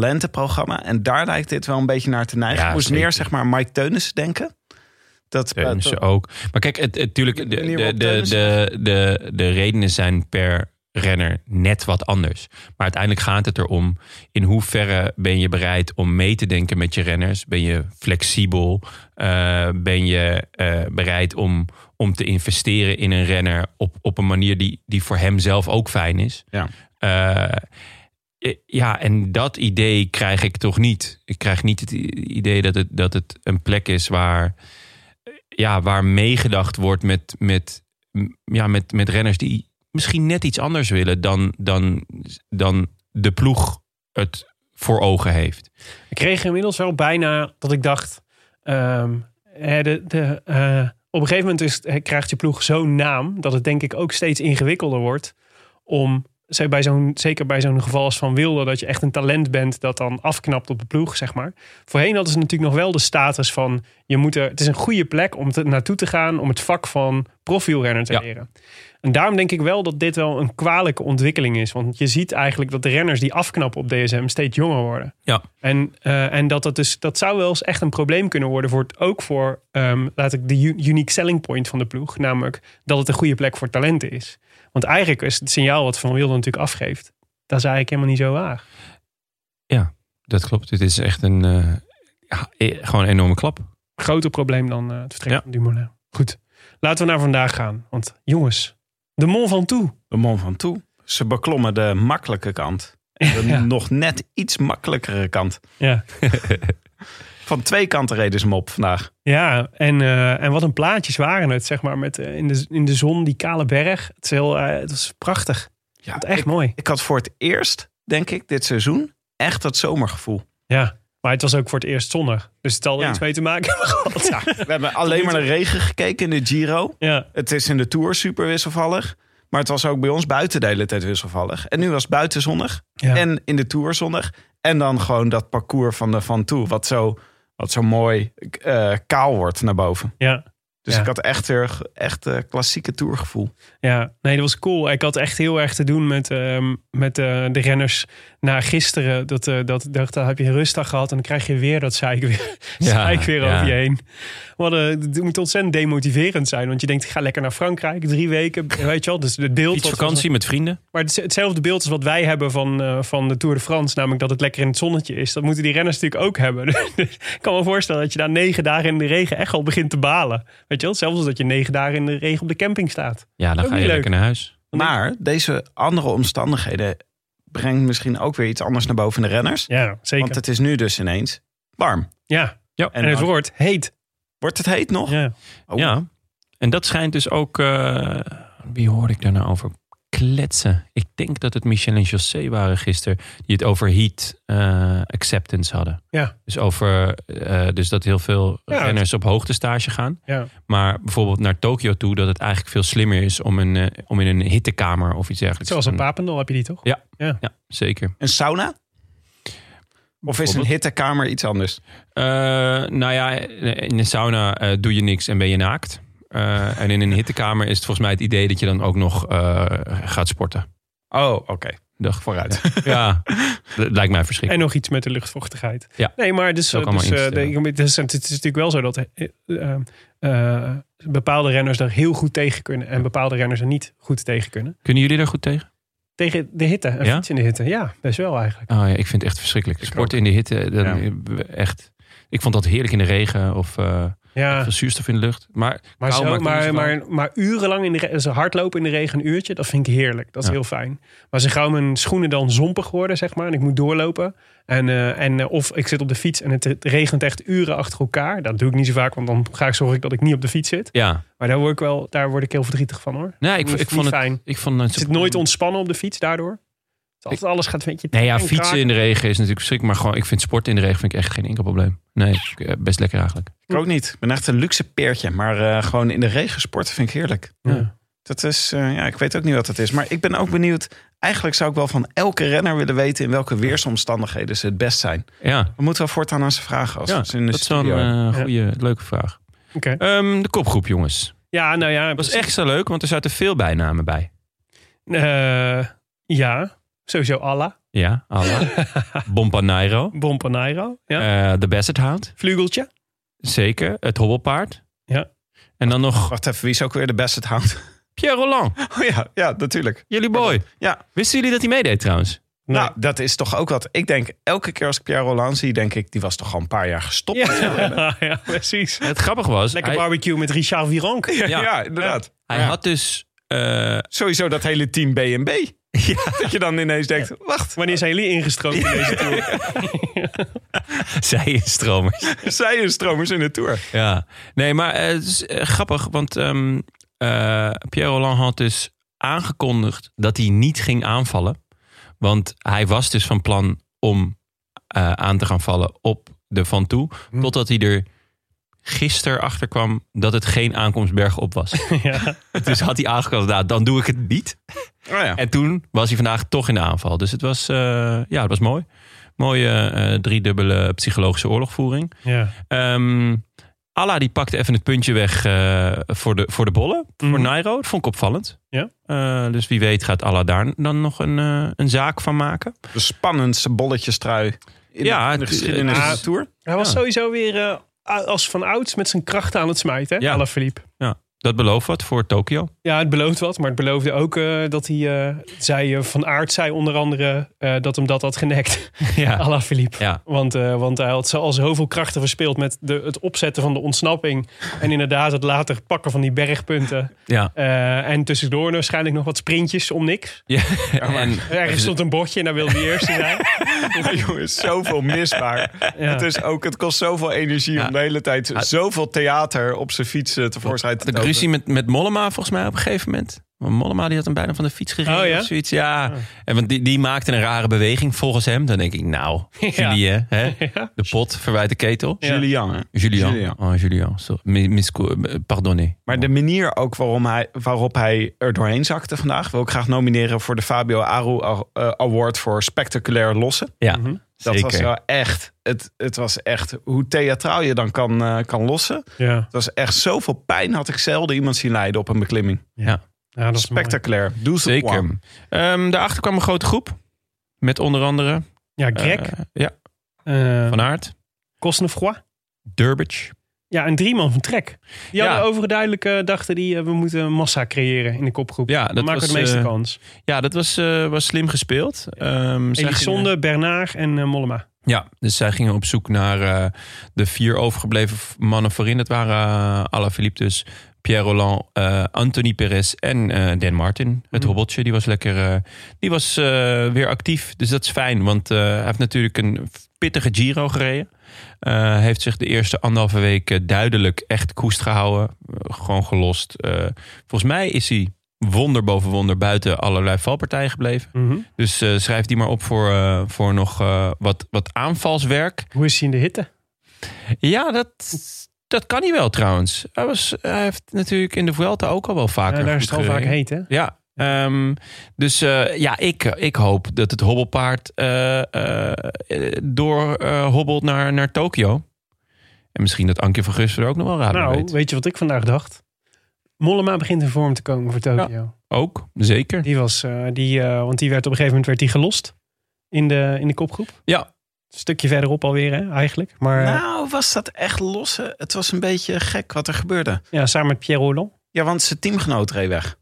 E: talentenprogramma. En daar lijkt dit wel een beetje naar te neigen.
A: Ja,
E: Ik Moest
A: zeker.
E: meer, zeg maar, Mike Teunissen denken. Dat, eh,
A: Teunissen
E: dat-
A: ook. Maar kijk, het, het, tuurlijk, de,
E: De manier
A: de,
E: waarop
A: de,
E: Teunissen-
A: de, de, de redenen zijn per renner net wat anders. Maar uiteindelijk gaat het erom... in hoeverre ben je bereid om mee te denken met je renners? Ben je flexibel? Eh, ben je eh, bereid om, om te investeren in een renner... op, op een manier die, die voor hem zelf ook fijn is?
E: Ja.
A: Eh, eh, ja, en dat idee krijg ik toch niet. Ik krijg niet het i- idee dat het, dat het een plek is waar, eh, ja, waar meegedacht wordt met, met, m, ja, met, met renners die misschien net iets anders willen dan, dan, dan de ploeg het voor ogen heeft.
B: ik kreeg inmiddels wel bijna dat ik dacht... ehm, hè, de, de, eh, op een gegeven moment is, het- hè, krijgt je ploeg zo'n naam... dat het denk ik ook steeds ingewikkelder wordt om... ze- Bij zo'n, zeker bij zo'n geval als Van Wilder... dat je echt een talent bent dat dan afknapt op de ploeg, zeg maar. Voorheen hadden ze natuurlijk nog wel de status van... Je moet er, het is een goede plek om te, naartoe te gaan... om het vak van profielrenner te
A: Ja.
B: leren. En daarom denk ik wel dat dit wel een kwalijke ontwikkeling is. Want je ziet eigenlijk dat de renners die afknappen op DSM... steeds jonger worden.
A: Ja.
B: En, eh, en dat, dat, dus, dat zou wel eens echt een probleem kunnen worden. Voor het, ook voor, ehm, laat ik de u- unique selling point van de ploeg. Namelijk dat het een goede plek voor talenten is. Want eigenlijk is het signaal wat Van Wilder natuurlijk afgeeft. Dat is eigenlijk helemaal niet zo waar.
A: Dat klopt. Dit is echt een, eh, ja, eh, gewoon een enorme klap.
B: Groter probleem dan eh, het vertrekken
A: Ja.
B: van Dumoulin. Goed, laten we naar vandaag gaan. Want jongens, de Mont Ventoux.
E: de man van toe. Ze beklommen de makkelijke kant. De
B: Ja.
E: nog net iets makkelijkere kant.
B: Ja,
E: Van twee kanten reden ze hem op vandaag.
B: ja en, eh, en wat een plaatjes waren het, zeg maar. Met, eh, in, de, in de zon, die kale berg. Het, is heel, eh, het was prachtig.
E: Ja,
B: Het was echt mooi.
E: Ik had voor het eerst, denk ik, dit seizoen echt dat zomergevoel.
B: Ja, maar het was ook voor het eerst zonnig. Dus het had er
E: Ja.
B: iets mee te maken hebben gehad. Ja.
E: We hebben alleen maar naar regen gekeken in de Giro.
B: Ja.
E: Het is in de Tour super wisselvallig. Maar het was ook bij ons buiten de hele tijd wisselvallig. En nu was het buiten zonnig. En in de Tour zonnig. En dan gewoon dat parcours van de Van Toe. Wat zo, wat zo mooi eh, kaal wordt naar boven.
B: ja.
E: Dus
B: Ja.
E: ik had echt weer echt eh, klassieke tourgevoel.
B: Ja, nee, dat was cool. Ik had echt heel erg te doen met, ehm, met eh, de renners na gisteren. Dat, eh, dat, dat, dat heb je een rustdag gehad en dan krijg je weer dat zeik weer,
A: Ja,
B: zeik weer
A: ja.
B: over je heen. Wat, eh, het moet ontzettend demotiverend zijn. Want je denkt, ik ga lekker naar Frankrijk, drie weken, weet je wel. Dus het beeld...
A: Iets
B: wat-
A: vakantie met vrienden.
B: Maar het is hetzelfde beeld als wat wij hebben van, eh, van de Tour de France. Namelijk dat het lekker in het zonnetje is. Dat moeten die renners natuurlijk ook hebben. Dus ik kan me voorstellen dat je daar negen dagen in de regen echt al begint te balen. Weet je wel? Zelfs als dat je negen dagen in de regen op de camping staat.
A: Ja, dan
B: Ook
A: ga je
B: niet
A: lekker naar huis.
E: Maar deze andere omstandigheden brengt misschien ook weer iets anders naar boven in de renners.
B: Ja, zeker.
E: Want het is nu dus ineens warm.
B: ja.
A: Ja,
B: En, het
E: dan-
B: woord heet.
E: Wordt het heet nog?
B: Ja.
E: Oh.
A: Ja. En dat schijnt dus ook... eh, wie hoorde ik daar nou over? Kletsen. Ik denk dat het Michel en José waren gisteren... die het over heat eh, acceptance hadden.
B: Ja.
A: Dus, over, eh, dus dat heel veel
B: Ja,
A: renners op hoogtestage gaan.
B: Ja.
A: Maar bijvoorbeeld naar Tokio toe... dat het eigenlijk veel slimmer is om, een, eh, om in een hittekamer of iets dergelijks
B: Zoals
A: te
B: een
A: gaan.
B: papendal heb je die toch?
A: Ja, zeker.
E: Een sauna? Of is een
A: Bijvoorbeeld.
E: hittekamer iets anders?
A: Eh, nou ja, in een sauna eh, doe je niks en ben je naakt. Eh, en in een hittekamer is het volgens mij het idee dat je dan ook nog eh, gaat sporten.
E: Oh, oké.
A: Dag.
E: Vooruit.
A: Ja, dat lijkt mij
B: En
A: verschrikkelijk.
B: nog iets met de luchtvochtigheid.
A: Ja.
B: Nee, maar dus,
A: Zou ik
B: dus,
A: allemaal
B: eh, de-
A: instellen.
B: het, is, het is natuurlijk wel zo dat eh, eh, eh, bepaalde renners daar heel goed tegen kunnen. En bepaalde renners er niet goed tegen kunnen.
A: Kunnen jullie daar goed tegen?
B: Tegen de hitte. Een
A: Ja?
B: fiets in de hitte. Ja, best wel eigenlijk.
A: Oh ja, ik vind het echt verschrikkelijk.
E: Ik
A: Sporten in de hitte, dan eh, echt. Ik vond dat heerlijk in de regen of eh,
B: Ja,
A: veel zuurstof in de lucht. Maar,
B: maar,
A: kou
B: zo,
A: maakt niet
B: maar,
A: zoveel.
B: maar, maar urenlang in de re- ze hardlopen in de regen een uurtje, dat vind ik heerlijk. Dat is
A: Ja.
B: heel fijn. Maar ze gauw mijn schoenen dan zompig worden, zeg maar. En ik moet doorlopen. En, eh, en, eh, of ik zit op de fiets en het, het regent echt uren achter elkaar. Dat doe ik niet zo vaak, want dan ga ik zorg ik dat ik niet op de fiets zit.
A: ja,
B: Maar daar word ik wel, daar word ik heel verdrietig van hoor.
A: nee, Nou, ik,
B: Niet-
A: ik vond
B: niet
A: het.
B: fijn.
A: Ik vond het
B: Ik zit nooit ontspannen op de fiets daardoor. Het is altijd alles gaat een beetje...
A: Nee, ja,
B: en
A: fietsen
B: kraken.
A: in de regen is natuurlijk verschrikkelijk. Maar gewoon, ik vind sporten in de regen vind ik echt geen enkel probleem. Nee, ik- eh, best lekker eigenlijk.
E: Ik ook niet. Ik ben echt een luxe peertje. Maar eh, gewoon in de regen sporten vind ik heerlijk.
B: Ja.
E: Dat is, eh, ja, ik weet ook niet wat dat is. Maar ik ben ook benieuwd. Eigenlijk zou ik wel van elke renner willen weten in welke weersomstandigheden ze het best zijn.
A: Ja.
E: We moeten wel voortaan aan ze vragen als
A: Ja,
E: ze in de
A: Dat is wel een
E: studio.
A: eh, goede, leuke vraag.
B: Oké.
A: Ehm, de kopgroep, jongens.
B: Ja, nou ja.
A: Dat was echt zo leuk, want er zaten veel bijnamen bij.
B: eh, ja, sowieso Allah.
A: Ja, Allah. Bompanairo.
B: Bon Panairo. Ja.
A: eh, de Basset Hound.
B: Vlugeltje.
A: Zeker. Het hobbelpaard.
B: Ja.
A: En dan nog
E: Wacht even, wie is ook weer de best het houdt?
A: Pierre Roland.
E: Oh ja, ja, natuurlijk.
A: Jullie boy.
E: Ja.
A: Wisten jullie dat hij meedeed trouwens?
B: Nee.
E: Nou, dat is toch ook wat. Ik denk, elke keer als ik Pierre Roland zie, denk ik, die was toch al een paar jaar gestopt.
B: Ja, ja, precies.
A: Het grappige was,
B: Lekker
A: hij,
B: barbecue met Richard Vironk.
A: ja.
E: inderdaad.
A: hij had dus... eh,
E: Sowieso dat hele team B&B. Dat je dan ineens denkt, wacht,
B: Wanneer zijn jullie ingestroomd in deze tour?
A: zij is stromers.
E: zij een stromers in de Tour.
A: Ja, nee, maar eh, het is eh, grappig, want ehm, eh, Pierre Roland had dus aangekondigd dat hij niet ging aanvallen. Want hij was dus van plan om eh, aan te gaan vallen op de Van Toe. Totdat hij er gisteren achter kwam dat het geen aankomstberg op was.
B: ja.
A: dus had hij aangekondigd, nou, dan doe ik het niet.
E: Oh ja.
A: En toen was hij vandaag toch in de aanval. Dus het was, eh, ja, het was mooi. Mooie eh driedubbele psychologische oorlogvoering.
B: ja.
A: Ehm Alla die pakte even het puntje weg eh, voor, de, voor de bollen. Voor
B: Mhm.
A: Nairo. Dat vond ik opvallend.
B: Ja.
A: Eh, dus wie weet gaat Alla daar dan nog een, eh, een zaak van maken.
E: De spannendste bolletjestrui in
A: Ja,
E: de, in de
A: het-
E: geschiedenis
B: ja,
E: van de Tour.
B: Hij was
A: Ja.
B: sowieso weer eh, als van ouds met zijn krachten aan het smijten.
A: Ja.
B: Ja. Alaphilippe.
A: Dat belooft wat voor Tokio.
B: Ja, het belooft wat, maar het beloofde ook eh, dat hij, eh, zei eh, van aard zei onder andere eh, dat hem dat had genekt.
A: ja.
B: Ala Philippe.
A: Ja.
B: Want, eh, want hij had zo- al zoveel krachten verspeeld met de, het opzetten van de ontsnapping. En inderdaad het later pakken van die bergpunten.
A: Ja.
B: Eh, en tussendoor waarschijnlijk nog wat sprintjes om niks.
A: ja. en,
B: Ergens stond een bordje en daar wilde hij eerst zijn.
E: Maar jongens, zoveel misbaar.
B: Ja.
E: Het, is ook, het kost zoveel energie
A: Ja.
E: om de hele tijd zoveel theater op zijn fiets eh, tevoorschijn te
A: de
E: toveren.
A: ruzie met, met Mollema volgens mij op een gegeven moment. Maar Mollema die had hem bijna van de fiets gereden
B: Oh ja?
A: of zoiets. Ja. En want die, die maakte een rare beweging volgens hem. Dan denk ik, nou, Julien, hè? de pot verwijt de ketel.
B: Ja.
E: Julian, hè?
A: Julien.
E: Julien.
A: Oh, Julien. Sorry. Mi- misco- eh, Pardonnez.
E: Maar de manier ook waarom hij, waarop hij er doorheen zakte vandaag... wil ik graag nomineren voor de Fabio Aru Aw- eh, Award voor spectaculair lossen.
A: Ja,
E: Dat
A: zeker.
E: was wel echt... Het, het was echt hoe theatraal je dan kan, eh, kan lossen.
B: Ja,
E: Het was echt zoveel pijn had ik zelden iemand zien lijden op een beklimming.
B: ja dat is mooi.
E: Spectaculair. Doe ze
A: Zeker.
E: kwam.
A: Ehm, daarachter kwam een grote groep. Met onder andere...
B: Ja,
A: eh,
B: Greg,
A: ja,
B: eh
A: Van Aert.
B: Cosnefroid.
A: Durbridge.
B: Ja, een drieman van Trek. Die
A: Ja.
B: hadden overduidelijk eh, dachten die, eh, we moeten een massa creëren in de kopgroep.
A: Ja,
B: Dan
A: dat
B: maken we de
A: was,
B: meeste
A: eh,
B: kans.
A: Ja, dat was, eh, was slim gespeeld. Ehm, zij gingen-
B: Elisonde, Bernard en eh, Mollema.
A: Ja, dus zij gingen op zoek naar eh, de vier overgebleven v- mannen voorin. Dat waren eh, Alaphilippe dus, Pierre Roland, eh, Anthony Perez en eh, Dan Martin. Het hobbeltje, die was lekker... eh, die was eh, weer actief, dus dat is fijn. Want eh, hij heeft natuurlijk een pittige Giro gereden. Eh, heeft zich de eerste anderhalve week eh, duidelijk echt koest gehouden. Eh, gewoon gelost. Eh, volgens mij is hij wonder boven wonder buiten allerlei valpartijen gebleven. Dus eh, schrijf die maar op voor, eh, voor nog eh, wat, wat aanvalswerk.
B: Hoe is hij in de hitte? Eh,
A: Ja, dat, dat kan hij wel trouwens. Hij, was, hij heeft natuurlijk in de Vuelta ook al wel vaker.
B: Ja, daar is
A: goed
B: het al vaak
A: gereden.
B: heet, hè?
A: Ja. ehm, dus eh, ja, ik, ik hoop dat het hobbelpaard eh, eh, eh, door eh, hobbelt naar, naar Tokio. En misschien dat Anke van Gus er ook nog wel raad mee
B: nou,
A: weet.
B: weet. je wat ik vandaag dacht? Mollema begint in vorm te komen voor Tokio.
A: Ook, zeker.
B: Die was, eh, die, eh, want die werd op een gegeven moment werd die gelost in de, in de kopgroep.
A: Ja.
B: Een stukje verderop alweer, hè, eigenlijk. Maar eh,
E: Nou, was dat echt lossen? Het was een beetje gek wat er gebeurde.
B: ja, samen met Pierre Roland.
E: Ja, want zijn teamgenoot reed weg.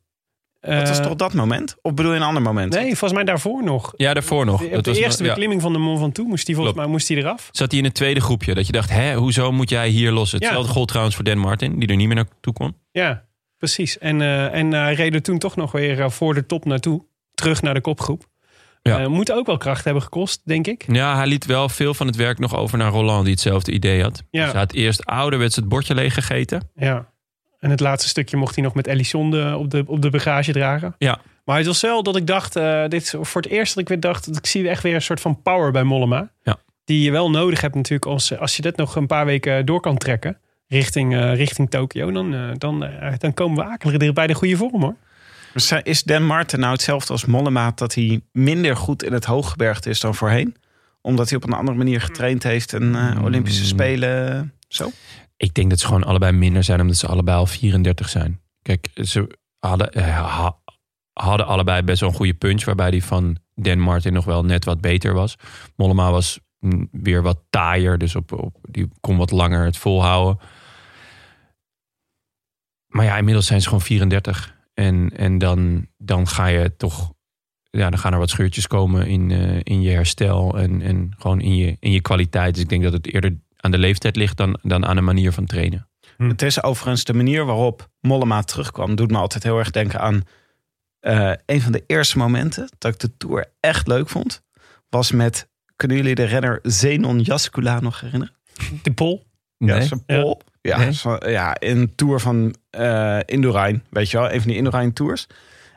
B: Eh,
E: Dat was toch dat moment? Of bedoel je een ander moment?
B: Nee, volgens mij daarvoor nog.
A: Ja, daarvoor nog.
B: De- op
A: Dat
B: de
A: was nog-
B: eerste
A: ja.
B: beklimming van de Mont Ventoux moest hij volgens
A: Klopt.
B: mij moest hij eraf.
A: zat hij in het tweede groepje. Dat je dacht, hè, hoezo moet jij hier lossen?
B: Ja.
A: Hetzelfde gold trouwens voor Dan Martin, die er niet meer naartoe kwam.
B: Ja, precies. En, eh, en hij reed er toen toch nog weer eh, voor de top naartoe. Terug naar de kopgroep.
A: Ja.
B: Eh, moet ook wel kracht hebben gekost, denk ik.
A: Ja, hij liet wel veel van het werk nog over naar Roland, die hetzelfde idee had.
B: Ja.
A: Dus hij had eerst ouderwets het bordje leeggegeten.
B: Ja. En het laatste stukje mocht hij nog met Elisonde op de, op de bagage dragen.
A: Ja.
B: Maar het was wel dat ik dacht, eh, dit is voor het eerst dat ik weer dacht, dat ik zie echt weer een soort van power bij Mollema.
A: Ja.
B: Die je wel nodig hebt natuurlijk als, eh, als je dit nog een paar weken door kan trekken. Richting, eh, richting Tokio, dan, eh, dan, eh, dan komen we akelig dicht bij de goede vorm hoor.
E: Maar zijn- Dus, eh, Is Dan Martin nou hetzelfde als Mollema... dat hij minder goed in het hooggebergte is dan voorheen? Omdat hij op een andere manier getraind heeft... en eh,
B: Mm.
E: Olympische Spelen... Zo?
A: Ik denk dat ze gewoon allebei minder zijn, omdat ze allebei al 34 zijn. Kijk, ze hadden, eh, ha- hadden allebei best wel een goede punch, waarbij die van Dan Martin nog wel net wat beter was. Mollema was mm, weer wat taaier, dus op, op, die kon wat langer het volhouden. Maar ja, inmiddels zijn ze gewoon 34. En, en dan, dan ga je toch. Ja, dan gaan er wat scheurtjes komen in, eh, in je herstel en, en gewoon in je, in je kwaliteit. Dus ik denk dat het eerder aan de leeftijd ligt dan, dan aan de manier van trainen.
E: Het is overigens de manier waarop Mollema terugkwam... doet me altijd heel erg denken aan... eh, een van de eerste momenten dat ik de Tour echt leuk vond... was met... Kunnen jullie de renner Zenon Jascula nog herinneren?
B: De pol.
E: Ja,
A: Nee?
E: zijn pol. Ja,
A: Nee.
E: zo- ja, een tour van eh Indorijn, weet je wel. Een van die Indorijn tours.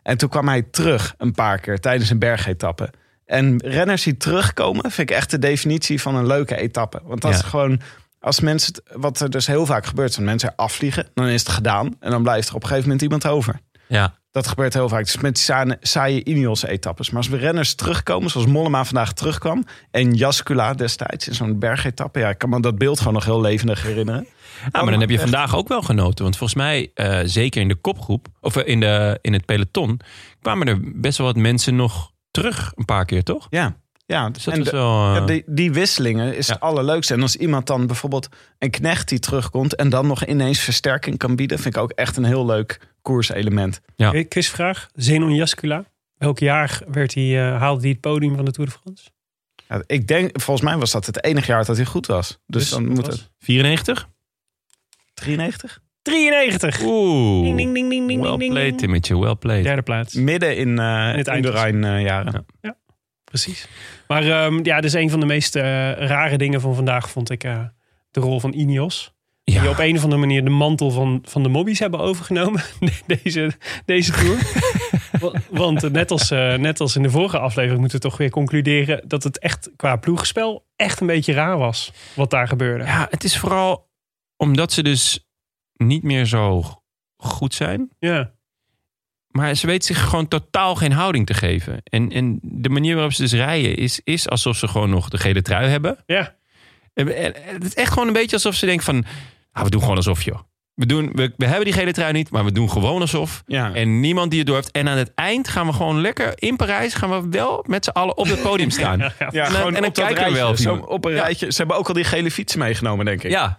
E: En toen kwam hij terug een paar keer tijdens een bergetappe. En renners die terugkomen vind ik echt de definitie van een leuke etappe. Want dat
A: Ja.
E: is gewoon... Als mensen, het- wat er dus heel vaak gebeurt, zijn mensen er afvliegen. Dan is het gedaan. En dan blijft er op een gegeven moment iemand over.
A: Ja,
E: Dat gebeurt heel vaak. Dus met die saaie, saaie Ineos-etappes. Maar als we renners terugkomen, zoals Mollema vandaag terugkwam... en Jascula destijds in zo'n bergetappe... ja, ik kan me dat beeld gewoon nog heel levendig herinneren.
A: Ja, maar dan heb je vandaag ook wel genoten. Want volgens mij, eh, zeker in de kopgroep, of eh, in, de, in het peloton, kwamen er best wel wat mensen nog terug een paar keer, toch?
E: Ja, ja.
A: Dus dat
E: en
A: was
E: de-
A: wel... eh,
E: ja, die, die wisselingen is
A: Ja.
E: het allerleukste. En als iemand dan bijvoorbeeld een knecht die terugkomt... en dan nog ineens versterking kan bieden... vind ik ook echt een heel leuk koerselement.
A: Ja.
B: Quizvraag, Eh, Zenon Jascula. Welk jaar werd hij, eh, haalde hij het podium van de Tour de France?
E: Ja, ik denk, volgens mij was dat het enige jaar dat hij goed was. Dus, dan
B: dat
E: moet
B: was
E: het...
A: 94?
E: 93?
B: 93!
A: Oeh.
B: Ding, ding, ding, ding, ding,
A: well
B: ding, ding,
A: played,
B: ding.
A: Timmetje, well played.
B: Derde plaats.
E: Midden in, eh
B: het
E: in de
B: eindklasse.
E: Rijn-jaren.
A: Ja.
B: Precies. Maar ehm, ja, dus een van de meest eh, rare dingen van vandaag vond ik eh, de rol van Ineos.
A: Ja.
B: die op een of andere manier de mantel van, van de mobbies hebben overgenomen. deze, deze tour. Wa- Want eh, net als, eh, net als in de vorige aflevering moeten we toch weer concluderen dat het echt qua ploegspel echt een beetje raar was wat daar gebeurde.
A: Ja, het is vooral omdat ze dus niet meer zo goed zijn.
B: Ja.
A: Maar ze weet zich gewoon totaal geen houding te geven. En, en de manier waarop ze dus rijden is, is alsof ze gewoon nog de gele trui hebben.
B: Ja.
A: En- en- en Het is echt gewoon een beetje alsof ze denkt van... ah, we doen gewoon alsof, joh. We, doen, we, we hebben die gele trui niet, maar we doen gewoon alsof.
E: Ja.
A: En niemand die het door heeft. En aan het eind gaan we gewoon lekker in Parijs... gaan we wel met z'n allen op het podium staan. Ja,
E: Ja,
A: En dan-
E: gewoon
A: en dan
E: op dat
A: kijken we
E: rijtje.
A: wel of
E: Zo
A: iemand-
E: op een
A: Ja.
E: rijtje. Ze hebben ook al die gele fietsen meegenomen, denk ik.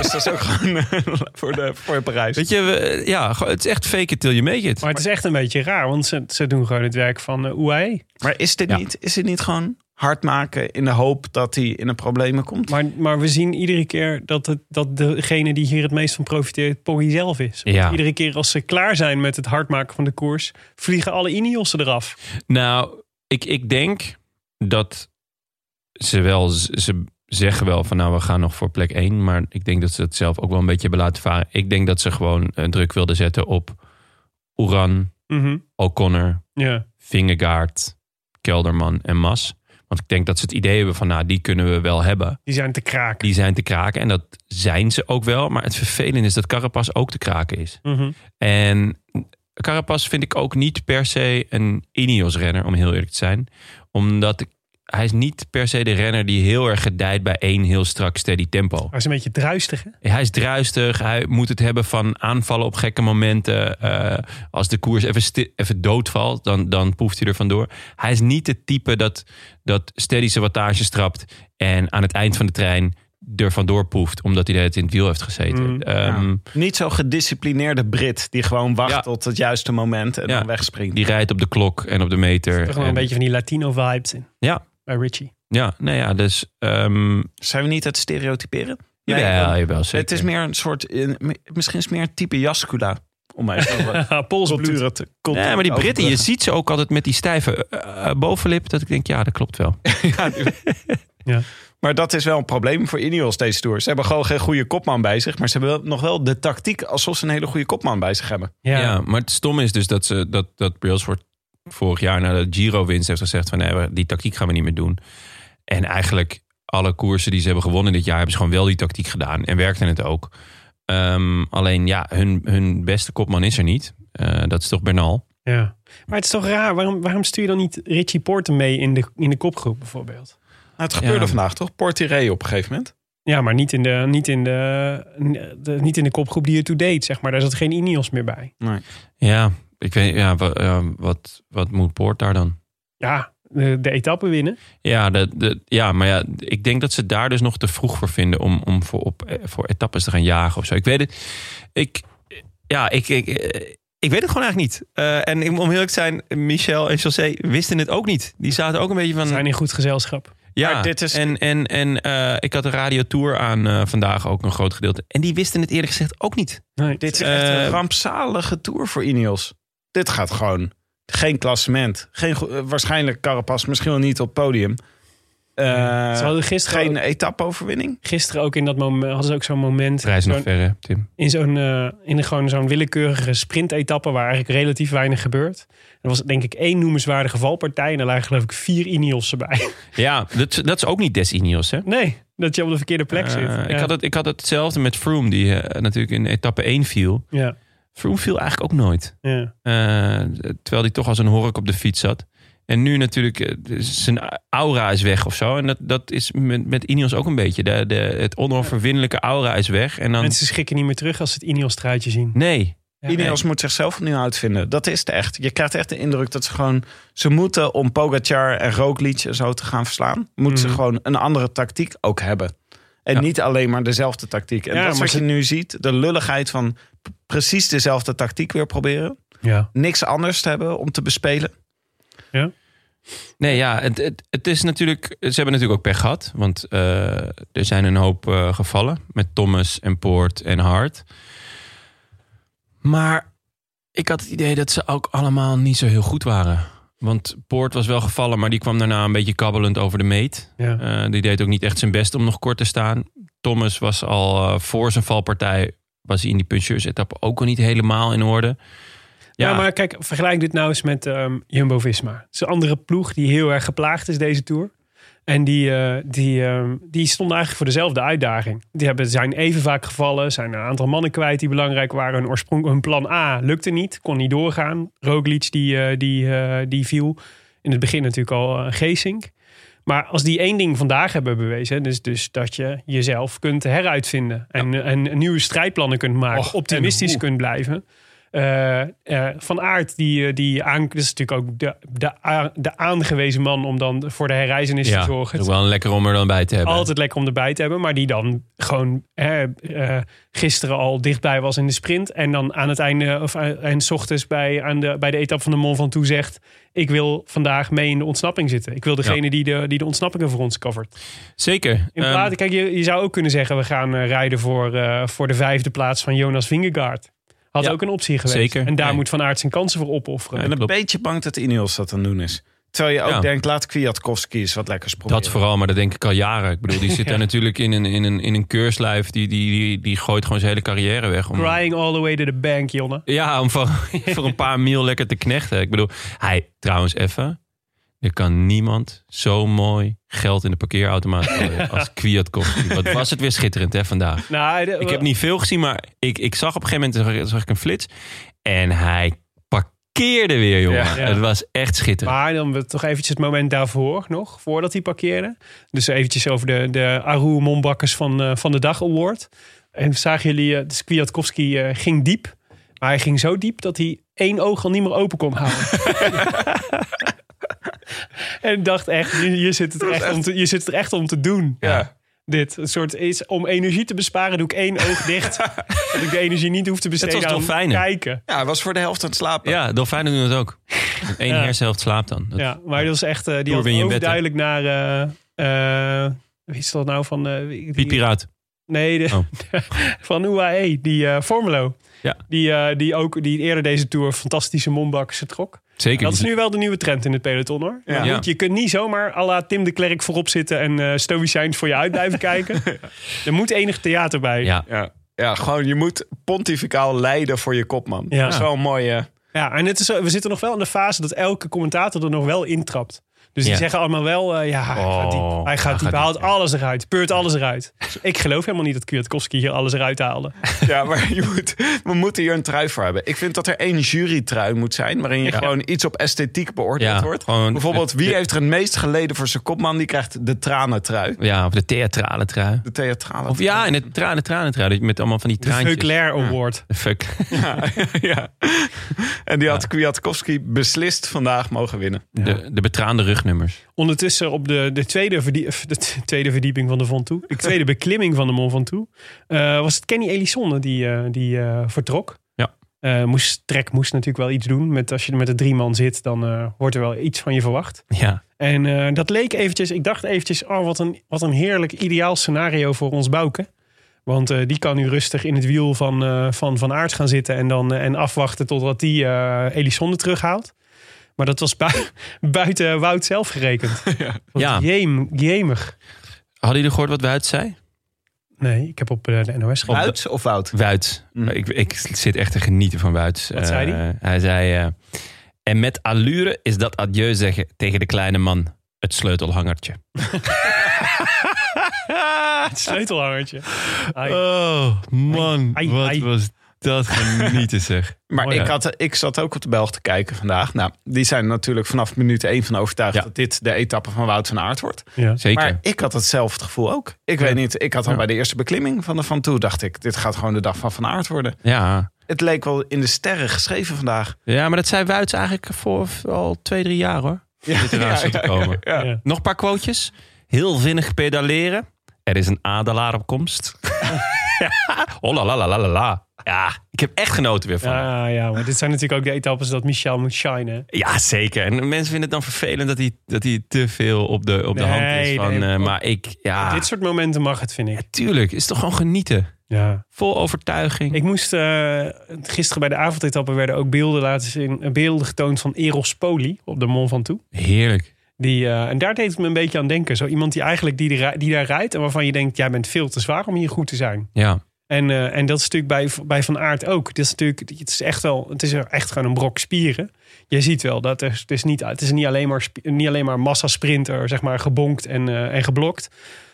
E: Dus dat is ook gewoon eh, voor, de, voor Parijs.
A: weet je, we- ja, gewoon- het is echt fake it till you make it.
B: Maar het is echt een beetje raar, want ze, ze doen gewoon het werk van eh UAE.
E: Maar is dit,
A: Ja.
E: niet, is dit niet gewoon hard maken in de hoop dat hij in de problemen komt?
B: Maar, maar we zien iedere keer dat, het, dat degene die hier het meest van profiteert, Poggi zelf is.
A: Ja.
B: Iedere keer als ze klaar zijn met het hard maken van de koers, vliegen alle Ineossen eraf.
A: Nou, ik, ik denk dat ze wel, ze zeggen wel van nou we gaan nog voor plek 1. Maar ik denk dat ze het zelf ook wel een beetje hebben laten varen. Ik denk dat ze gewoon eh, druk wilden zetten op Oeran,
B: Mhm.
A: O'Connor,
B: Ja.
A: Vingegaard, Kelderman en Mas. Want ik denk dat ze het idee hebben van nou die kunnen we wel hebben.
B: Die zijn te kraken.
A: Die zijn te kraken en dat zijn ze ook wel. Maar het vervelende is dat Carapaz ook te kraken is.
B: Mhm.
A: En Carapaz vind ik ook niet per se een Ineos-renner, om heel eerlijk te zijn. Omdat ik- hij is niet per se de renner die heel erg gedijt bij één heel strak steady tempo.
B: Maar ze een beetje druistig, hè?
A: Hij is druistig, hij moet het hebben van aanvallen op gekke momenten. Eh, als de koers even, sti- even doodvalt, dan, dan poeft hij er vandoor. Hij is niet het type dat, dat steady zijn wattage trapt en aan het eind van de trein er vandoor poeft, omdat hij het in het wiel heeft gezeten.
B: Mm,
A: Ehm,
E: Niet zo'n gedisciplineerde Brit die gewoon wacht
A: Ja.
E: tot het juiste moment en
A: Ja.
E: dan wegspringt.
A: Die rijdt op de klok en op de meter.
B: Er gewoon
A: En-
B: een beetje van die Latino-vibes in.
A: Ja.
B: Bij Richie.
A: Ja, nou ja, dus. ehm
E: Zijn we niet het stereotyperen?
A: jawel,
E: dan-
A: jawel, zeker.
E: het is meer een soort, eh, mi- misschien is het meer een type Jascula. Om even wat
B: Haha, Polsbloed.
E: culturen te culturen
A: Nee, maar die
E: te
A: Britten, je ziet ze ook altijd met die stijve eh, eh, bovenlip. Dat ik denk, ja, dat klopt wel.
E: Maar dat is wel een probleem voor Ineos deze tour. Ze hebben gewoon geen goede kopman bij zich. Maar ze hebben wel, nog wel de tactiek alsof ze een hele goede kopman bij zich hebben.
B: Ja.
A: Ja. maar het stomme is dus dat, ze, dat, dat Brailsford vorig jaar na de Giro-winst heeft gezegd: van nee, we- die tactiek gaan we niet meer doen. En eigenlijk alle koersen die ze hebben gewonnen dit jaar hebben ze gewoon wel die tactiek gedaan en werkte het ook. Ehm, alleen ja, hun, hun beste kopman is er niet. Eh, dat is toch Bernal.
B: Ja. Maar het is toch raar, waarom, waarom stuur je dan niet Richie Porter mee in de, in de kopgroep bijvoorbeeld?
E: Nou, het gebeurde
A: Ja.
E: vandaag toch? Portiré op een gegeven moment.
B: Ja, maar niet in de, niet in de, de- niet in de kopgroep die je toe deed, zeg maar. Daar zat geen Ineos meer bij.
A: Ja, ik weet, ja, wa- ja, wat, wat moet Poort daar dan?
B: Ja, de, de etappe winnen.
A: Ja, de, de, ja, maar ja, ik denk dat ze daar dus nog te vroeg voor vinden om, om voor, op, eh, voor etappes te gaan jagen of zo. Ik weet het. Ik, ja, ik, ik, eh, ik weet het gewoon eigenlijk niet. Eh, en om eerlijk te zijn, Michel en José wisten het ook niet. Die zaten ook een beetje van.
B: We zijn in goed gezelschap.
A: ja,
E: Maar dit is-
A: en, en, en eh, ik had de radiotour aan eh, vandaag ook een groot gedeelte. En die wisten het eerlijk gezegd ook niet.
B: Nee.
E: Dit is echt
A: Eh,
E: een rampzalige tour voor Ineos. Dit gaat gewoon. Geen klassement. Geen, go- eh, waarschijnlijk Carapas, misschien wel niet op het podium. Eh,
B: Ze hadden gisteren,
E: geen
B: ook,
E: etappe-overwinning.
B: gisteren ook in dat moment, hadden ze ook zo'n moment.
A: Reis nog
B: zo'n-
A: ver, hè, Tim.
B: in zo'n eh, in gewoon zo'n willekeurige sprintetappe waar eigenlijk relatief weinig gebeurt. Er was denk ik één noemenswaardige valpartij en er lagen geloof ik vier Ineossen bij.
A: Ja, dat, dat is ook niet des Ineos, hè?
B: Nee, dat je op de verkeerde plek zit.
A: Eh,
B: Ja.
A: ik, had het, ik had hetzelfde met Froome, die eh, natuurlijk in etappe 1 viel.
B: Ja,
A: Froome viel eigenlijk ook nooit.
B: ja.
A: Eh, terwijl hij toch als een hork op de fiets zat. En nu natuurlijk, eh, dus zijn aura is weg of zo. En dat, dat is met, met Ineos ook een beetje. De, de, het onoverwinnelijke aura is weg. En dan,
B: Mensen schrikken niet meer terug als ze het Ineos-truitje zien.
A: nee.
B: Ja.
E: Ineos moet zichzelf opnieuw uitvinden. Dat is het echt. Je krijgt echt de indruk dat ze gewoon... Ze moeten om Pogacar en Roglic en zo te gaan verslaan... moeten ze
B: Mhm.
E: gewoon een andere tactiek ook hebben. En
A: Ja.
E: niet alleen maar dezelfde tactiek. En
B: Ja,
E: dat is
B: maar
E: wat je
B: ze-
E: nu ziet. De lulligheid van p- precies dezelfde tactiek weer proberen.
B: Ja.
E: Niks anders te hebben om te bespelen.
A: Nee, ja, het, het, het is natuurlijk. Ze hebben natuurlijk ook pech gehad. Want eh, er zijn een hoop eh, gevallen. Met Thomas en Poort en Hart. Maar ik had het idee dat ze ook allemaal niet zo heel goed waren. Want Poort was wel gevallen, maar die kwam daarna een beetje kabbelend over de meet.
B: Ja.
A: Eh, die deed ook niet echt zijn best om nog kort te staan. Thomas was al eh, voor zijn valpartij, was hij in die puncheurs-etappe ook al niet helemaal in orde.
B: Ja. maar kijk, vergelijk dit nou eens met ehm, Jumbo-Visma. Het is een andere ploeg die heel erg geplaagd is deze Tour. En die, eh, die, ehm, die stonden eigenlijk voor dezelfde uitdaging. Die hebben, zijn even vaak gevallen, zijn een aantal mannen kwijt die belangrijk waren. Hun, oorsprong, hun plan A lukte niet, kon niet doorgaan. Roglic die, eh, die, eh, die viel in het begin natuurlijk al eh, Geesink. Maar als die één ding vandaag hebben bewezen, dus, dus dat je jezelf kunt heruitvinden. En, en nieuwe strijdplannen kunt maken,
E: Och, en
B: optimistisch
E: hoe.
B: kunt blijven. Eh, eh, van Aert, die, eh, die aan, dat is natuurlijk ook de, de, a- de aangewezen man om dan voor de herreizenis
A: ja,
B: te
A: is
B: zorgen.
A: ook wel lekker om er dan bij te hebben.
B: Altijd lekker om erbij te hebben, maar die dan gewoon hè, eh, gisteren al dichtbij was in de sprint. En dan aan het einde, of a- en 's ochtends bij, aan de, bij de etappe van de Mont Ventoux zegt: Ik wil vandaag mee in de ontsnapping zitten. Ik wil degene die, de, die de ontsnappingen voor ons covert.
A: Zeker.
B: In
A: Ehm,
B: plaats, kijk, je, je zou ook kunnen zeggen: We gaan eh, rijden voor, eh, voor de vijfde plaats van Jonas Vingegaard. Had
A: Ja,
B: ook een optie geweest.
A: zeker.
B: En daar
A: Nee.
B: moet Van Aert zijn kansen voor opofferen.
A: Ja,
E: Ik ben een
A: klopt.
E: beetje bang dat Ineos dat aan het doen is. Terwijl je ook
A: Ja.
E: denkt, laat Kwiatkowski eens wat lekkers proberen.
A: Dat vooral, maar dat denk ik al jaren. Ik bedoel, die zit daar natuurlijk in een, in een, in een keurslijf. Die, die, die, die gooit gewoon zijn hele carrière weg. Om,
B: Crying all the way to the bank, Jonne.
A: Ja, om voor, voor een paar mil lekker te knechten. Ik bedoel, hij, trouwens even. Er kan niemand zo mooi geld in de parkeerautomaat gooien als Kwiatkowski. Wat was het weer schitterend hè, vandaag.
B: Nou,
A: Ik heb niet veel gezien, maar ik, ik zag op een gegeven moment zag ik- zag ik een flits. En hij parkeerde weer, jongen.
E: Ja.
A: Het was echt schitterend.
B: Maar dan we- toch eventjes het moment daarvoor nog, voordat hij parkeerde. Dus eventjes over de, de Aru Mombakkers van, eh, van de Dag Award. En zagen jullie, eh dus Kwiatkowski eh, ging diep. Maar hij ging zo diep dat hij één oog al niet meer open kon houden. en dacht echt, je, je, zit het echt om te, je zit het echt om te doen.
E: Ja.
B: Dit een soort is om energie te besparen, doe ik één oog dicht. dat ik de energie niet hoef te besteden aan
A: dolfijnen.
B: kijken.
E: Ja, hij was voor de helft aan het slapen.
A: Ja, dolfijnen doen dat ook. Eén
B: Ja.
A: hersenhelft slaapt dan. Dat-
B: Ja, maar dat was echt. eh, die
A: Tour
B: had
A: win je in bed, hè?
B: overduidelijk naar. eh, eh, wie is dat nou van. eh, wie- die-
A: Piet Piraat.
B: Nee, de-
A: Oh.
B: van UAE, die eh Formelo.
A: Ja.
B: Die, eh, die ook die eerder deze tour fantastische mondbakkers trok.
A: Zeker.
B: Dat is nu wel de nieuwe trend in het peloton hoor.
E: Ja.
B: Maar
A: Ja.
B: goed, je kunt niet zomaar à la Tim de Klerk voorop zitten en eh stoïcijns voor je uit blijven kijken. Er moet enig theater bij.
A: Ja.
E: Ja. Ja, gewoon je moet pontificaal leiden voor je kopman.
B: Ja.
E: Dat is wel een mooie...
B: Ja, en het is, we zitten nog wel in de fase dat elke commentator er nog wel intrapt. Dus die
A: Ja.
B: zeggen allemaal wel, eh, ja, hij gaat
A: Oh,
B: diep. Hij gaat diep, hij haalt alles eruit, peurt alles eruit. Ik geloof helemaal niet dat Kwiatkowski hier alles eruit haalde.
E: Ja, maar je moet, we moeten hier een trui voor hebben. Ik vind dat er één jurytrui moet zijn... waarin je gewoon iets op esthetiek beoordeeld
A: Ja,
E: wordt.
A: gewoon-
E: Bijvoorbeeld, wie
A: de-
E: heeft er het meest geleden voor zijn kopman... die krijgt de tranentrui.
A: Ja, of de theatrale trui.
E: De theatrale
A: Of ja, en de tranen, tranen, tranen. dat je Met allemaal van die
B: De
A: traantjes.
B: Veuclair Award.
A: Fuck.
E: Ja, ja. En die had Kwiatkowski beslist vandaag mogen winnen.
A: De, de betraande rugnummers.
B: Ondertussen op de, de, tweede, verdie- of de t- tweede verdieping van de Ventoux, de tweede beklimming van de Mont Ventoux, eh, was het Kenny Elissonde die, eh, die eh, vertrok.
A: Ja.
B: Eh, moest, Trek moest natuurlijk wel iets doen. Met, als je er met de drie man zit, dan eh, wordt er wel iets van je verwacht.
A: Ja.
B: En eh, dat leek eventjes, ik dacht eventjes, oh wat een, wat een heerlijk ideaal scenario voor ons Bouke. Want eh, die kan nu rustig in het wiel van eh, Van, van Aert gaan zitten en, dan, eh, en afwachten totdat die eh Elisonde terughaalt. Maar dat was bui- buiten Wout zelf gerekend. Want
A: Ja.
B: jeem- jemig.
A: Hadden jullie gehoord wat Wuit zei?
B: Nee, ik heb op eh, de NOS gekeken.
E: Wuits of Wout?
A: Wuit.
E: Mm.
A: Ik, ik zit echt te genieten van Wuit.
B: Wat zei
A: Eh, hij zei... eh, en met allure is dat adieu zeggen tegen de kleine man. Het sleutelhangertje.
B: Het sleutelhangertje. Ai.
A: Oh, man.
B: Ai, ai, wat ai.
A: was dat genieten zeg.
E: Maar
B: Mooi,
E: ik,
B: ja.
E: had, ik zat ook op de Belg te kijken vandaag. Nou, die zijn natuurlijk vanaf minuut één van overtuigd...
A: Ja.
E: dat dit de etappe van Wout van Aert wordt.
B: Ja.
A: Zeker.
E: Maar ik had hetzelfde gevoel ook. Ik weet niet, ik had al bij de eerste beklimming van de Van Toe... dacht ik, dit gaat gewoon de dag van Van Aert worden.
A: Ja.
E: Het leek wel in de sterren geschreven vandaag.
A: ja, maar dat zei Wuits eigenlijk voor al twee, drie jaar hoor.
E: Ja,
A: Dit eraan zat te komen.
E: ja.
B: Ja.
A: Nog een paar quotejes. Heel vinnig pedaleren. Er is een adelaar op komst. oh la la la la la la. Ja, ik heb echt genoten weer van. hem.
B: Ja, Ah, ja, maar dit zijn natuurlijk ook de etappes dat Michel moet shinen.
A: Ja, zeker. En mensen vinden het dan vervelend dat hij, dat hij te veel op de, op de
B: Nee,
A: hand is. Van,
B: nee.
A: eh, maar ik, ja,
B: Dit soort momenten mag het, vind ik.
A: tuurlijk. Is toch gewoon genieten.
B: Ja.
A: Vol overtuiging.
B: Ik moest eh, gisteren bij de eh, avondetappen werden ook beelden laten zien, beelden getoond van Eros Poli op de Mont Ventoux.
A: Heerlijk.
B: Die, eh, en daar deed het me een beetje aan denken. Zo iemand die eigenlijk die, die, die daar rijdt en waarvan je denkt, jij bent veel te zwaar om hier goed te zijn.
A: Ja,
B: En, eh, en dat is natuurlijk bij, bij Van Aert ook. Dat is natuurlijk, het is echt wel, het is echt gewoon een brok spieren. Je ziet wel dat er, het is niet, het is niet alleen maar, sp- niet alleen maar massasprinter, zeg maar, gebonkt en, eh, en geblokt.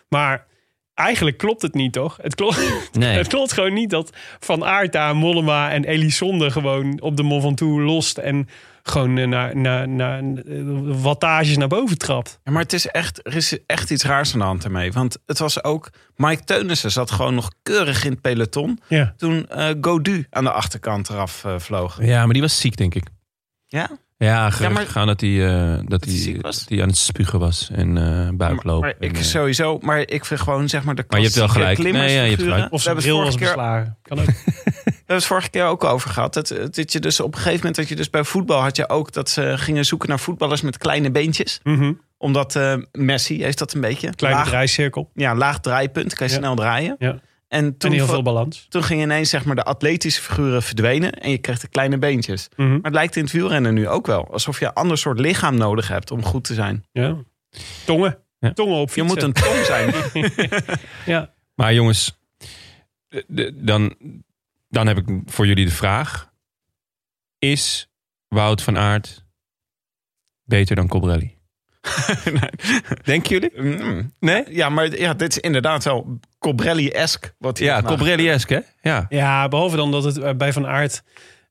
B: Maar eigenlijk klopt het niet, toch? Het klopt,
A: nee.
B: het klopt gewoon niet dat Van Aert daar, Mollema en Elisonde gewoon op de Mont Ventoux lost en gewoon eh, naar, naar, naar, eh, wattages naar boven trapt.
E: Ja, maar het is echt, er is echt iets raars aan de hand ermee. Want het was ook... Mike Teunissen zat gewoon nog keurig in het peloton...
B: Ja.
E: toen eh, Godu aan de achterkant eraf eh, vloog.
A: Ja, maar die was ziek, denk ik.
E: Ja?
A: Ja, gegaan
E: Ja, maar-
A: dat hij eh, dat
E: hij
A: hij
E: ziek was?
A: dat hij aan het spugen was en eh
E: Maar,
A: buikloop.
E: maar ik
A: en, eh,
E: sowieso, maar ik vind gewoon zeg maar de
A: Maar je hebt wel
E: klassieke
A: gelijk. Nee, ja, je hebt
E: klimmersfiguren.
A: gelijk.
B: Of
E: We
B: zijn
E: hebben
B: bril
E: het
B: was
E: vorige keer
B: beslagen. Kan ook.
E: We hebben het vorige keer ook over gehad. Dat, dat je dus op een gegeven moment dat je dus bij voetbal had je ook dat ze gingen zoeken naar voetballers met kleine beentjes.
B: Mhm.
E: Omdat eh, Messi heeft dat een beetje.
B: Kleine
E: laag,
B: draaicirkel.
E: ja, laag draaipunt, kan je
B: Ja.
E: snel draaien.
B: Ja.
E: En
B: En
E: toen,
B: heel
E: vo-
B: veel balans.
E: toen gingen ineens zeg maar, de atletische figuren verdwenen en je kreeg de kleine beentjes.
B: Mhm.
E: Maar het lijkt in het wielrennen nu ook wel. Alsof je een ander soort lichaam nodig hebt om goed te zijn.
B: Ja. Tongen.
A: Ja.
B: Tongen op
E: Je
B: fietsen.
E: moet een tong zijn.
B: Ja.
A: Maar jongens, de- de- dan, dan heb ik voor jullie de vraag: is Wout van Aert beter dan Cobrelli? Denken jullie?
E: Mm.
A: Nee?
E: Ja, maar ja, dit is inderdaad wel Cobrelli-esque. wat hij
A: Ja,
E: heeft nagedaan.
A: Cobrelli-esque, hè? Ja.
B: ja, behalve dan dat het eh, bij Van Aert...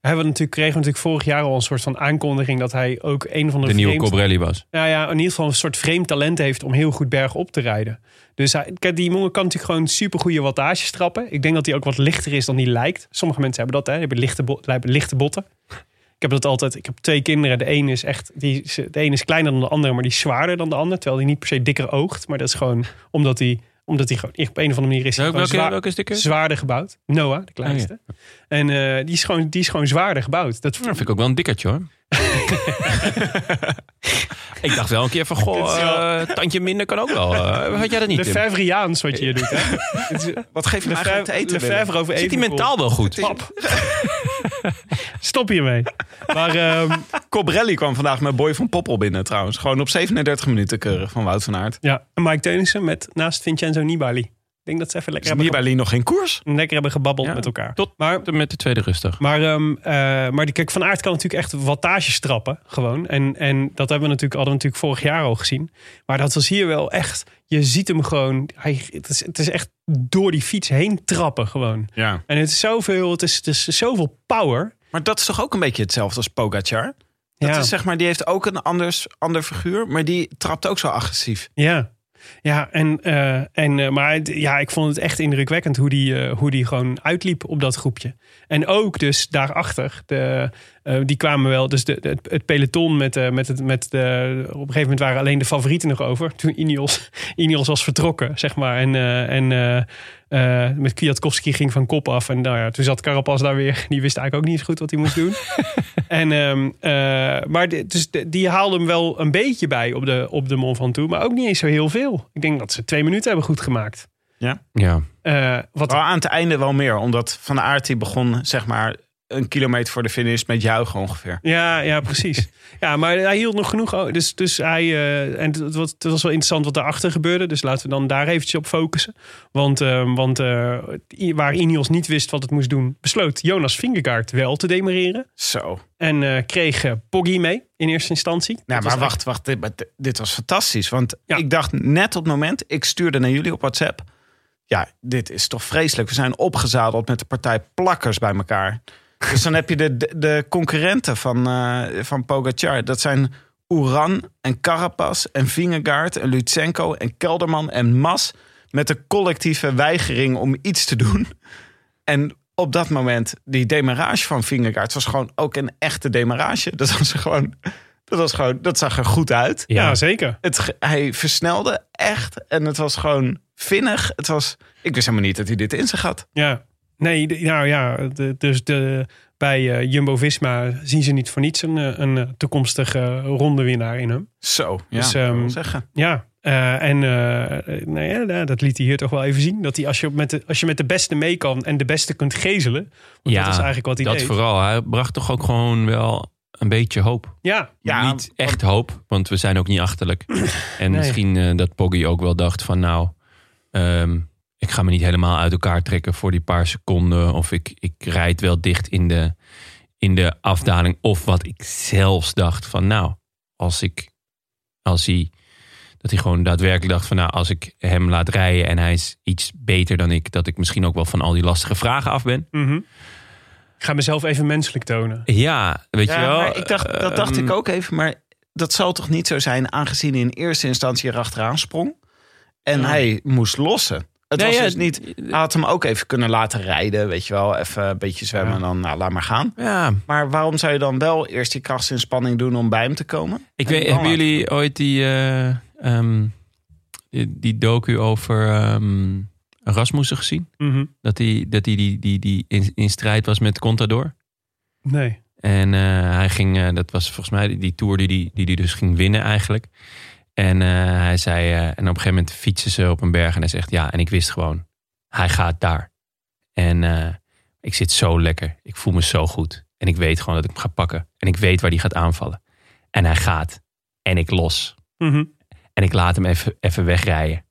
B: Hebben we natuurlijk, kregen we natuurlijk vorig jaar al een soort van aankondiging... dat hij ook een van de,
A: De nieuwe
B: vreemdste-
A: Cobrelli was.
B: Nou ja, in ieder geval een soort vreemd talent heeft om heel goed berg op te rijden. Dus hij, kijk, die jongen kan natuurlijk gewoon super goede wattages trappen. Ik denk dat hij ook wat lichter is dan hij lijkt. Sommige mensen hebben dat, hè? Die hebben lichte, bo- hebben lichte botten. Ik heb dat altijd. Ik heb twee kinderen. De een is echt, die, is- de een is kleiner dan de andere, maar die is zwaarder dan de ander. Terwijl die niet per se dikker oogt, maar dat is gewoon omdat hij, omdat hij gewoon op een of andere manier is. hij
A: Welke,
B: gewoon zwaar-
A: welke, welke Oh, is dikker?
B: Zwaarder gebouwd. Noah, de kleinste. En eh, die, is gewoon, die is gewoon zwaarder gebouwd. Dat
A: Dat vind ik ook wel een dikkertje hoor. ik dacht wel een keer van,
B: Dit
A: goh,
B: is wel-
A: eh, tandje minder kan ook wel. Eh, had jij dat niet,
B: de
A: Tim?
B: Favriaans wat je hier doet. Hè?
E: Wat geef je nou eigenlijk te eten? Willem?
B: Lefevre over
A: Zit hij
B: Evenepoel.
A: mentaal wel goed?
B: Pap. Stop hiermee. Maar ehm,
E: Cobrelli kwam vandaag met Boy van Poppel binnen trouwens. Gewoon op 37 minuten keurig van Wout van Aert.
B: ja, en Mike Teunissen met naast Vincenzo Nibali. Ik denk dat ze even lekker,
E: Is
B: hebben,
E: Dus Nibali nog geen koers?
B: ge- lekker hebben gebabbeld
A: Ja.
B: met elkaar.
A: Tot-
B: maar
A: Met de tweede rustig.
B: maar, ehm, eh, maar die, kijk, Van Aert kan natuurlijk echt wattages trappen. Gewoon. En, en dat hebben we natuurlijk, hadden we natuurlijk vorig jaar al gezien. Maar dat was hier wel echt... Je ziet hem gewoon... Hij, het, is, het is echt door die fiets heen trappen gewoon.
E: Ja.
B: En het is zoveel, het is, het is zoveel power.
E: Maar dat is toch ook een beetje hetzelfde als Pogacar? Dat
B: ja.
E: is zeg maar, die heeft ook een anders, ander figuur, maar die trapt ook zo agressief.
B: Ja, ja, en, eh, en, eh, maar het- ja, ik vond het echt indrukwekkend hoe die, eh, hoe die gewoon uitliep op dat groepje. En ook dus daarachter, de, eh, die kwamen wel, dus de, de- het- het peloton met, eh, met, het, met de, op een gegeven moment waren alleen de favorieten nog over. Toen Ineos, Ineos was vertrokken, zeg maar. En, eh, en eh, eh, met Kwiatkowski ging van kop af. En nou ja, toen zat Carapaz daar weer. Die wist eigenlijk ook niet zo goed wat hij moest doen. En, ehm, eh, maar de- dus de- die haalde hem wel een beetje bij op de, op de Mont Ventoux. Maar ook niet eens zo heel veel. Ik denk dat ze twee minuten hebben goed gemaakt.
A: Ja.
B: Eh, wat,
E: Maar aan het einde wel meer, omdat Van Aert die begon zeg maar een kilometer voor de finish met juichen ongeveer.
B: ja, ja, precies. ja, maar hij hield nog genoeg. o- Dus, dus hij, eh, en het, was- het was wel interessant wat daarachter gebeurde. Dus laten we dan daar eventjes op focussen. Want, ehm, want eh, i- waar Ineos niet wist wat het moest doen... besloot Jonas Vingegaard wel te demereren.
E: Zo.
B: En eh, kreeg eh, Poggi mee in eerste instantie.
E: Nou,
B: Dat was
E: maar wacht, wacht. Dit, maar dit- dit was fantastisch. Want
B: Ja.
E: ik dacht net op het moment, ik stuurde naar jullie op WhatsApp. Ja, dit is toch vreselijk. We zijn opgezadeld met de partij plakkers bij elkaar. Dus dan heb je de, de, de concurrenten van, eh van Pogacar. Dat zijn Uran en Carapaz en Vingegaard en Lutsenko en Kelderman en Mas. Met de collectieve weigering om iets te doen. En op dat moment, die demarage van Vingegaard was gewoon ook een echte demarage. Dat was gewoon... Dat, was gewoon, dat zag er goed uit
B: Ja, zeker.
E: het, ge- hij versnelde echt. En het was gewoon vinnig. Het was, ik wist helemaal niet dat hij dit in zich had.
B: Ja. Nee, de- nou ja, de- dus de, bij eh, Jumbo-Visma zien ze niet voor niets een, eh, een eh, toekomstige rondewinnaar in hem.
E: Zo, ja,
B: Dus,
E: kan ik wel
B: ehm,
E: zeggen.
B: Ja, eh, en eh, eh, nou ja, nou, dat liet hij hier toch wel even zien. Dat hij, als je, op met de, als je met de beste mee kan en de beste kunt gezelen. Want
A: Ja,
B: dat is eigenlijk wat hij
A: dat
B: deed.
A: vooral. Hij bracht toch ook gewoon wel een beetje hoop.
B: Ja,
A: Maar
E: Ja,
A: niet echt hoop, want we zijn ook niet achterlijk. En
B: Nee.
A: misschien eh, dat Poggy ook wel dacht van nou, ehm, ik ga me niet helemaal uit elkaar trekken voor die paar seconden. Of ik, ik rijd wel dicht in de, in de afdaling. Of wat ik zelfs dacht van nou, als ik, als hij, dat hij gewoon daadwerkelijk dacht van nou, als ik hem laat rijden en hij is iets beter dan ik, dat ik misschien ook wel van al die lastige vragen af ben.
B: mhm. Ik ga mezelf even menselijk tonen.
A: Ja, weet je
E: Ja,
A: wel.
E: maar ik dacht, dat dacht
A: ehm,
E: ik ook even. Maar dat zal toch niet zo zijn, aangezien hij in eerste instantie erachteraan sprong. En hij moest lossen. Het
A: Nee,
E: was
A: ja,
E: dus niet... Hij had hem ook even kunnen laten rijden, weet je wel. Even een beetje zwemmen en dan, nou, laat maar gaan.
A: Ja,
E: Maar waarom zou je dan wel eerst die krachtsinspanning doen om bij hem te komen?
A: Ik
E: En
A: weet,
E: dan
A: hebben
E: laten-
A: jullie ooit die, eh, ehm, die, die docu over ehm Rasmussen gezien?
B: Mhm.
A: Dat hij die, dat die, die, die, die in, in strijd was met Contador.
B: Nee.
A: En eh, hij ging, eh, dat was volgens mij die, die tour die hij die, die dus ging winnen eigenlijk. En eh, hij zei, eh, en op een gegeven moment fietsen ze op een berg en hij zegt, ja, en ik wist gewoon, hij gaat daar. En eh, ik zit zo lekker, ik voel me zo goed. En ik weet gewoon dat ik hem ga pakken. En ik weet waar hij gaat aanvallen. En hij gaat. En ik los.
B: Mhm.
A: En ik laat hem even, even wegrijden.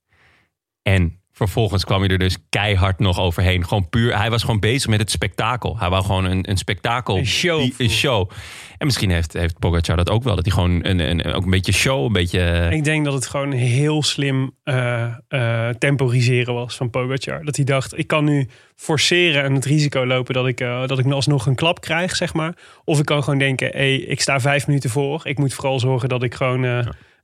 A: En vervolgens kwam hij er dus keihard nog overheen. Gewoon puur, hij was gewoon bezig met het spektakel. Hij wou gewoon een, een spektakel.
B: Een show.
A: Die- een show. En misschien heeft, heeft Pogacar dat ook wel. Dat hij gewoon een, een, ook een beetje show, een beetje... eh,
B: Ik denk dat het gewoon heel slim eh, eh, temporiseren was van Pogacar. Dat hij dacht, ik kan nu forceren en het risico lopen dat ik, eh, dat ik alsnog een klap krijg, zeg maar. Of ik kan gewoon denken, hey, ik sta vijf minuten voor. Ik moet vooral zorgen dat ik gewoon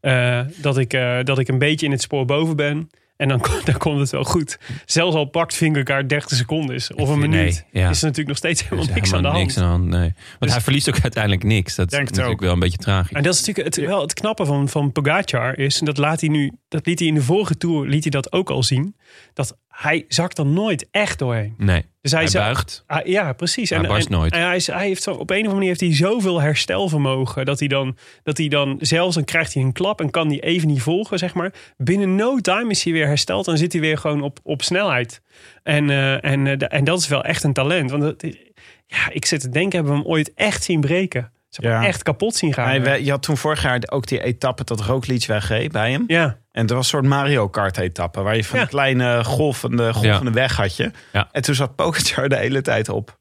B: eh, eh, dat, ik, eh, dat ik een beetje in het spoor boven ben. En dan, kom- dan komt het wel goed. Zelfs al pakt Vingegaard 30 seconden is, of een
A: Nee,
B: minuut,
A: ja.
B: is er natuurlijk nog steeds helemaal
A: Dus
B: niks aan de hand.
A: niks aan de hand, nee. Want
B: Dus-
A: hij verliest ook uiteindelijk niks. Dat is
B: Denk het
A: natuurlijk
B: ook.
A: wel een beetje tragisch.
B: En dat is natuurlijk het, wel het knappe van, van Pogacar is, en dat laat hij nu, dat liet hij in de vorige tour liet hij dat ook al zien, dat hij zakt er nooit echt doorheen.
A: Nee,
B: Dus hij,
A: hij
B: zou-
A: buigt.
B: Ah, ja, precies.
A: Hij barst
B: en,
A: nooit.
B: en hij, is, hij heeft zo, op een of andere manier heeft hij zoveel herstelvermogen dat hij dan, dat hij dan zelfs dan krijgt hij een klap en kan die even niet volgen, zeg maar. Binnen no time is hij weer hersteld en zit hij weer gewoon op, op snelheid. En, eh, en, eh, da- en dat is wel echt een talent. Want dat- ja, ik zit te denken, hebben we hem ooit echt zien breken? Ze hebben
E: Ja.
B: hem echt kapot zien gaan.
E: Hij we- je had toen vorig jaar ook die etappe dat Roglic wegreed bij hem.
B: ja.
E: En er was een soort Mario Kart etappe. Waar je van
B: Ja.
E: een kleine golvende, golvende weg had je.
A: Ja.
E: En toen zat Pogacar de hele tijd op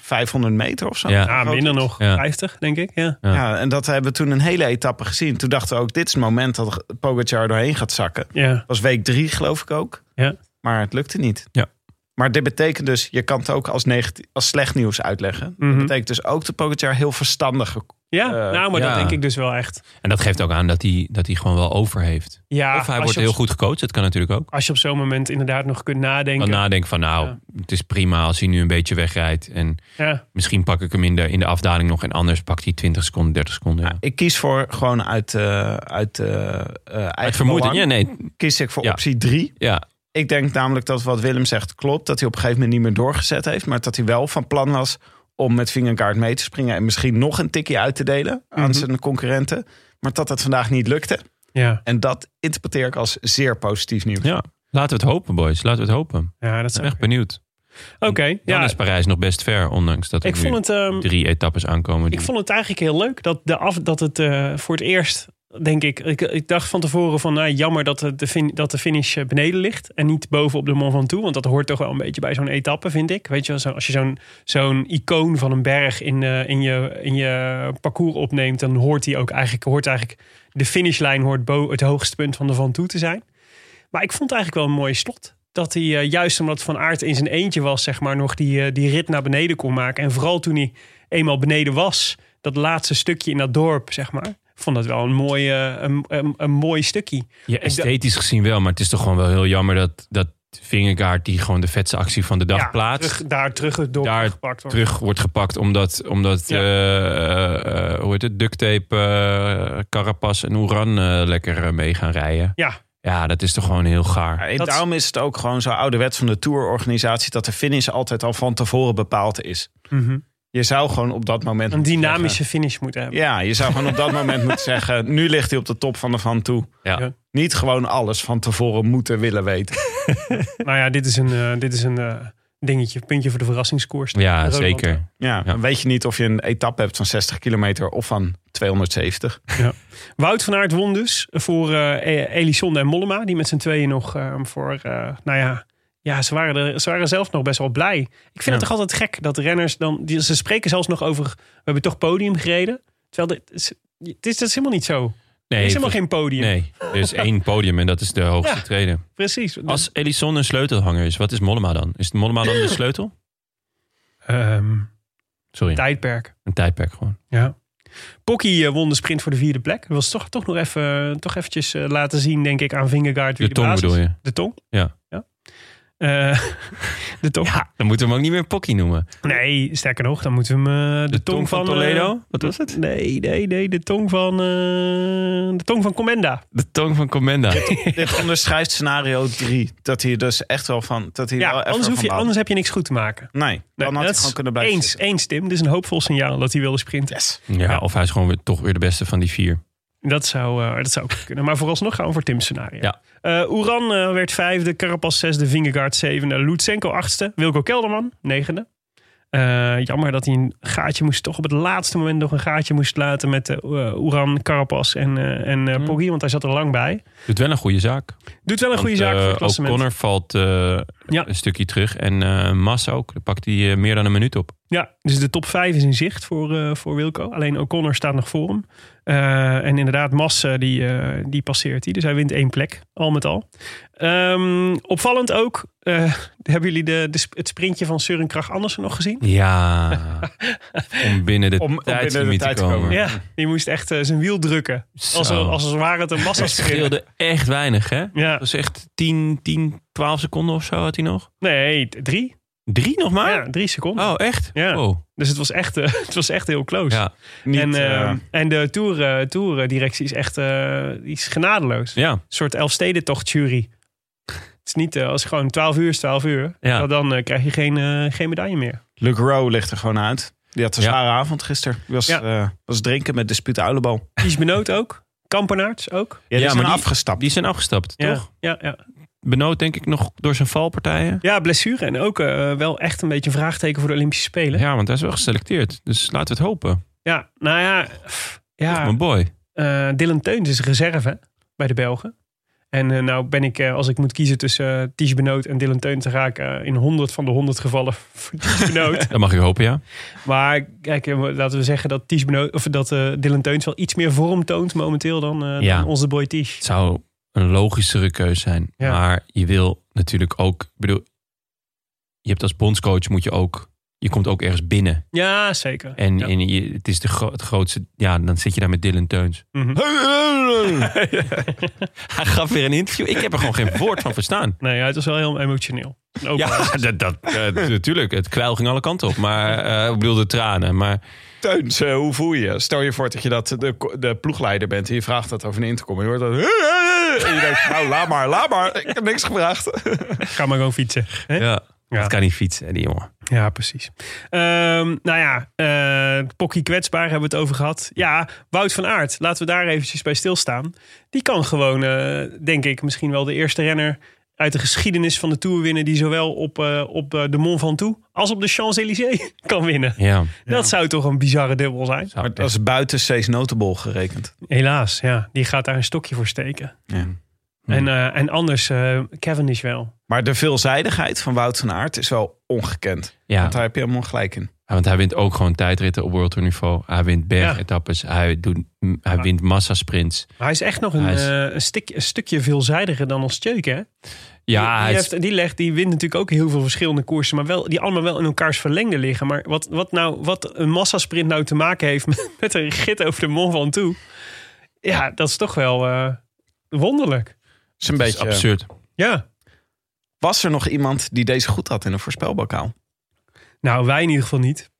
E: 500 meter of zo.
A: Ja.
B: Ja, Ah, minder nog.
A: Ja.
B: 50, denk ik. Ja.
A: Ja.
E: Ja, en dat hebben we toen een hele etappe gezien. Toen dachten we ook, dit is het moment dat Pogacar doorheen gaat zakken.
B: ja.
E: Dat was week drie, geloof ik ook.
B: Ja.
E: Maar het lukte niet.
A: Ja.
E: Maar dit betekent dus, je kan het ook als, negati- als slecht nieuws uitleggen.
B: Mhm.
E: Dat betekent dus ook dat Pogacar heel verstandig...
B: Ja,
E: Eh,
B: nou, maar
A: ja.
B: dat denk ik dus wel echt.
A: En dat geeft ook aan dat hij, dat hij gewoon wel over heeft.
B: Ja,
A: of hij
B: als
A: wordt
B: je op-
A: heel goed gecoacht. Dat kan natuurlijk ook.
B: Als je op zo'n moment inderdaad nog kunt nadenken.
A: Dan nadenken van nou,
B: Ja.
A: het is prima als hij nu een beetje wegrijdt. En
B: ja.
A: misschien pak ik hem in de, in de afdaling nog. En anders pakt hij 20 seconden, 30 seconden. Ja.
E: Ik kies voor gewoon uit, eh uit eh, eh,
A: Uit
E: eigen
A: vermoeden.
E: belang.
A: Ja, nee.
E: Kies ik voor
A: Ja.
E: optie drie.
A: Ja,
E: Ik denk namelijk dat wat Willem zegt klopt. Dat hij op een gegeven moment niet meer doorgezet heeft. Maar dat hij wel van plan was om met vingerkaart mee te springen. En misschien nog een tikje uit te delen
A: Mhm.
E: aan zijn concurrenten. Maar dat dat vandaag niet lukte.
B: Ja.
E: En dat interpreteer ik als zeer positief nieuws.
A: ja, laten we het hopen, boys. Laten we het hopen.
B: ja, dat
A: Ik ben
B: zou...
A: echt benieuwd.
B: Oké,
A: Dan
B: ja.
A: is Parijs nog best ver, ondanks dat er
B: Ik vond
A: nu
B: het, ehm,
A: drie etappes aankomen. die-
B: ik vond het eigenlijk heel leuk dat, de af, dat het eh, voor het eerst, denk ik, ik, ik dacht van tevoren van nou, jammer dat de, de fin- dat de finish eh, beneden ligt en niet boven op de Mont Ventoux, want dat hoort toch wel een beetje bij zo'n etappe, vind ik. Weet je, wel, zo, als je zo'n zo'n icoon van een berg in, eh, in, je, in je parcours opneemt, dan hoort die ook eigenlijk, hoort eigenlijk de finishlijn hoort bo- het hoogste punt van de Ventoux te zijn. Maar ik vond het eigenlijk wel een mooie slot. Dat hij eh, juist omdat Van Aert in zijn eentje was, zeg maar, nog die, eh, die rit naar beneden kon maken. En vooral toen hij eenmaal beneden was, dat laatste stukje in dat dorp, zeg maar. Ik Vond dat wel een mooi, eh, een, een, een mooi stukje.
A: Ja, esthetisch gezien wel, maar het is toch gewoon wel heel jammer dat, dat Vingegaard, die gewoon de vetste actie van de dag
B: Ja,
A: plaatst,
B: terug, daar terug het dorp
A: Daar
B: gepakt wordt.
A: terug wordt gepakt omdat, omdat
B: Ja.
A: eh, eh, hoe heet het, duct tape, eh, Carapaz en Oeran eh, lekker eh, mee gaan rijden.
B: Ja,
A: Ja, dat is toch gewoon heel gaar.
E: En
B: Dat-
E: daarom is het ook gewoon zo ouderwets van de tourorganisatie... dat de finish altijd al van tevoren bepaald is. Je zou gewoon op dat moment...
B: een
E: moeten
B: dynamische finish moeten hebben.
E: zeggen- ja, je zou gewoon op dat moment moeten zeggen... nu ligt hij op de top van de van toe.
A: Ja.
B: Ja.
E: Niet gewoon alles van tevoren moeten willen weten.
B: Nou ja, dit is een, eh, dit is een eh, dingetje, puntje voor de verrassingskoers.
A: Ja,
B: Roland.
A: zeker.
E: Ja,
A: Ja.
E: dan weet je niet of je een etappe hebt van 60 kilometer of van 270.
B: Wout van Aert won dus voor eh Elisonde en Mollema. Die met z'n tweeën nog eh, voor, eh, nou ja... Ja, ze waren, er, ze waren zelf nog best wel blij. Ik vind het toch altijd gek dat renners dan... Die, ze spreken zelfs nog over, we hebben toch podium gereden. Terwijl dit, is- het is, dat is helemaal niet zo.
A: Nee,
B: er is helemaal
A: volgens-
B: geen podium.
A: Nee, er is één podium en dat is de hoogste
B: Ja.
A: treden.
B: Precies.
A: Als Elisson een sleutelhanger is, wat is Mollema dan? Is Mollema dan de sleutel?
B: Ehm,
A: Sorry,
B: tijdperk.
A: een tijdperk gewoon.
B: Ja. Pocky eh, won de sprint voor de vierde plek. Dat was toch, toch nog even toch eventjes eh, laten zien, denk ik, aan Vingegaard. wie
A: De tong
B: baas is.
A: bedoel je?
B: De tong?
A: Ja.
B: ja. Eh, de tong?
A: Dan moeten we hem ook niet meer Pocky noemen.
B: Nee, sterker nog, dan moeten we hem... eh, de, tong, van,
A: Toledo?
B: eh,
A: Wat was het?
B: nee, nee, nee. De tong van... eh, de tong van Comenda.
A: De tong van Comenda.
E: Dit onderschrijft scenario 3. Dat hij dus echt wel van... Dat hij
B: Ja,
E: wel even
B: anders, hoef
E: van
B: je,
E: baalt.
B: anders heb je niks goed te maken.
E: Nee, dan had hij
B: dat
E: gewoon
B: is
E: kunnen blijven
B: eens,
E: zitten.
B: eens, Tim. Dit is een hoopvol signaal dat hij wilde sprinten.
A: Ja, of hij is gewoon weer, toch weer de beste van die vier.
B: Dat zou, eh, dat zou ook goed kunnen. Maar vooralsnog gaan we voor Tim's scenario.
A: Ja.
B: Eh, Oeran eh, werd vijfde, Carapaz zesde, Vingegaard zevende, Lutsenko achtste, Wilco Kelderman negende. Eh, jammer dat hij een gaatje moest, toch op het laatste moment nog een gaatje moest laten met eh, Oeran, Carapaz en, eh en
A: Hmm.
B: eh, Poggi, want hij zat er lang bij.
A: Doet wel een goede zaak.
B: Doet wel een goede
A: Want,
B: zaak voor het
A: eh,
B: klassement.
A: O'Connor valt eh,
B: Ja.
A: een stukje terug. En eh Massa ook. Daar pakt hij eh, meer dan een minuut op.
B: Ja, dus de top 5 is in zicht voor, eh, voor Wilco. Alleen O'Connor staat nog voor hem. Eh, en inderdaad, Massa die, eh, die passeert hij. Dus hij wint één plek, al met al. Ehm, opvallend ook, eh, hebben jullie de, de, sp- het sprintje van Søren Krach Andersen nog gezien?
A: Ja. om binnen de
E: Om- om binnen de
A: tijdslimiet
E: tijd
A: te
E: te
A: komen.
E: komen.
B: Ja, die moest echt eh, zijn wiel drukken.
A: Zo.
B: Als, als het ware het een massa
A: Het scheelde echt weinig, hè?
B: Ja,
A: Dat was echt 10, 10, 12 seconden of zo had hij nog.
B: nee, d- drie.
A: Drie nog maar?
B: Ja, drie seconden.
A: Ah. Oh, echt?
B: Ja.
A: Wow.
B: Dus het was, echt, eh, het was echt heel close.
A: Ja. ehm,
E: Niet,
B: en, eh,
E: eh,
B: en de tour, eh, tourdirectie is echt eh, die is genadeloos.
A: ja.
B: Een soort Elfstedentocht-jury. Het is niet eh, als gewoon 12 uur is 12 uur.
A: Ja.
B: Nou, Dan eh, krijg je geen, eh, geen medaille meer.
E: Luke Rowe ligt er gewoon uit. Die had een
A: Ja.
E: zware avond gisteren. Die was,
B: Ja.
E: eh, was drinken met dispuut uilenbal.
B: Ties Benoot ook. Kampenaerts ook.
E: Ja,
A: Ja,
E: die is
A: maar
E: maar
A: die-
E: afgestapt.
A: Die zijn afgestapt,
B: Ja,
A: toch?
B: Ja, ja.
A: Benoot denk ik nog door zijn valpartijen.
B: ja, blessure. En ook eh, wel echt een beetje een vraagteken voor de Olympische Spelen. Ja,
A: Ja, want hij is wel geselecteerd. Dus laten we het hopen.
B: nou ja. pff,
A: Ja.
B: Ja,
A: Mijn boy.
B: eh, Dylan Teuns is reserve bij de Belgen. En eh, nou ben ik, eh, als ik moet kiezen tussen eh, Ties Benoot en Dylan Teuns, dan ga ik eh, in 100 van de 100 gevallen voor Ties Benoot.
A: Dat mag ik hopen, ja.
B: Maar kijk, eh, laten we zeggen dat, Ties Beno- of dat eh, Dylan Teuns wel iets meer vorm toont momenteel dan, eh,
A: Ja.
B: dan onze boy Ties.
A: Het zou een logischere keus zijn.
B: Ja.
A: Maar je wil natuurlijk ook... ik bedoel, je hebt als bondscoach moet je ook... Je komt ook ergens binnen.
B: Ja, zeker.
A: En,
B: Ja.
A: en je, het is de gro- het grootste... Ja, dan zit je daar met Dylan Teuns.
B: Mhm.
A: Hij gaf weer een interview. Ik heb er gewoon geen woord van verstaan.
B: Nee, ja, het was wel heel emotioneel. Ook wel.
A: Ja, dat, dat, eh, natuurlijk. Het kwijl ging alle kanten op. Maar eh, ik bedoel de tranen. Maar
E: Teuns, eh, hoe voel je? Stel je voor dat je dat de, ko- de ploegleider bent en je vraagt dat over een intercom. En je hoort dat... En je denkt, nou, laat maar, laat maar. Ik heb niks gevraagd.
B: Ga maar gewoon fietsen. Hè?
A: ja,
B: Ja.
A: dat kan niet fietsen, hè, die jongen.
B: Ja, precies. Ehm, nou ja, eh Pocky kwetsbaar hebben we het over gehad. Ja, Wout van Aert, laten we daar eventjes bij stilstaan. Die kan gewoon, eh, denk ik, misschien wel de eerste renner uit de geschiedenis van de Tour winnen... die zowel op, eh, op eh, de Mont Ventoux als op de Champs-Élysées kan winnen.
A: Ja.
B: Dat zou toch een bizarre dubbel zijn?
A: Zou-
E: Maar dat is buiten Cees Notable gerekend.
B: Helaas, ja. Die gaat daar een stokje voor steken.
E: Ja.
A: Hmm.
B: En, eh, en anders, eh Cavendish wel.
E: Maar de veelzijdigheid van Wout van Aert is wel ongekend.
A: ja.
E: Want daar heb je helemaal gelijk in.
A: Ja, want hij wint ook gewoon tijdritten op World Tour niveau. Hij wint bergetappes. Hij, doet, m, hij wint massasprints.
B: Maar hij is echt nog een,
A: Hij is-
B: eh, een, stik, een stukje veelzijdiger dan ons Tjeuk, hè?
A: Ja,
B: die,
A: hij
B: die,
A: is,
B: heeft, die, legt, die wint natuurlijk ook heel veel verschillende koersen, maar wel, die allemaal wel in elkaars verlengde liggen. Maar wat, wat, nou, wat een massasprint nou te maken heeft met, met een rit over de Mont Ventoux, ja, dat is toch wel eh, wonderlijk.
E: is een
A: het is
E: beetje...
A: absurd.
B: Ja,
E: Was er nog iemand die deze goed had in een voorspelbokaal?
B: nou wij in ieder geval niet,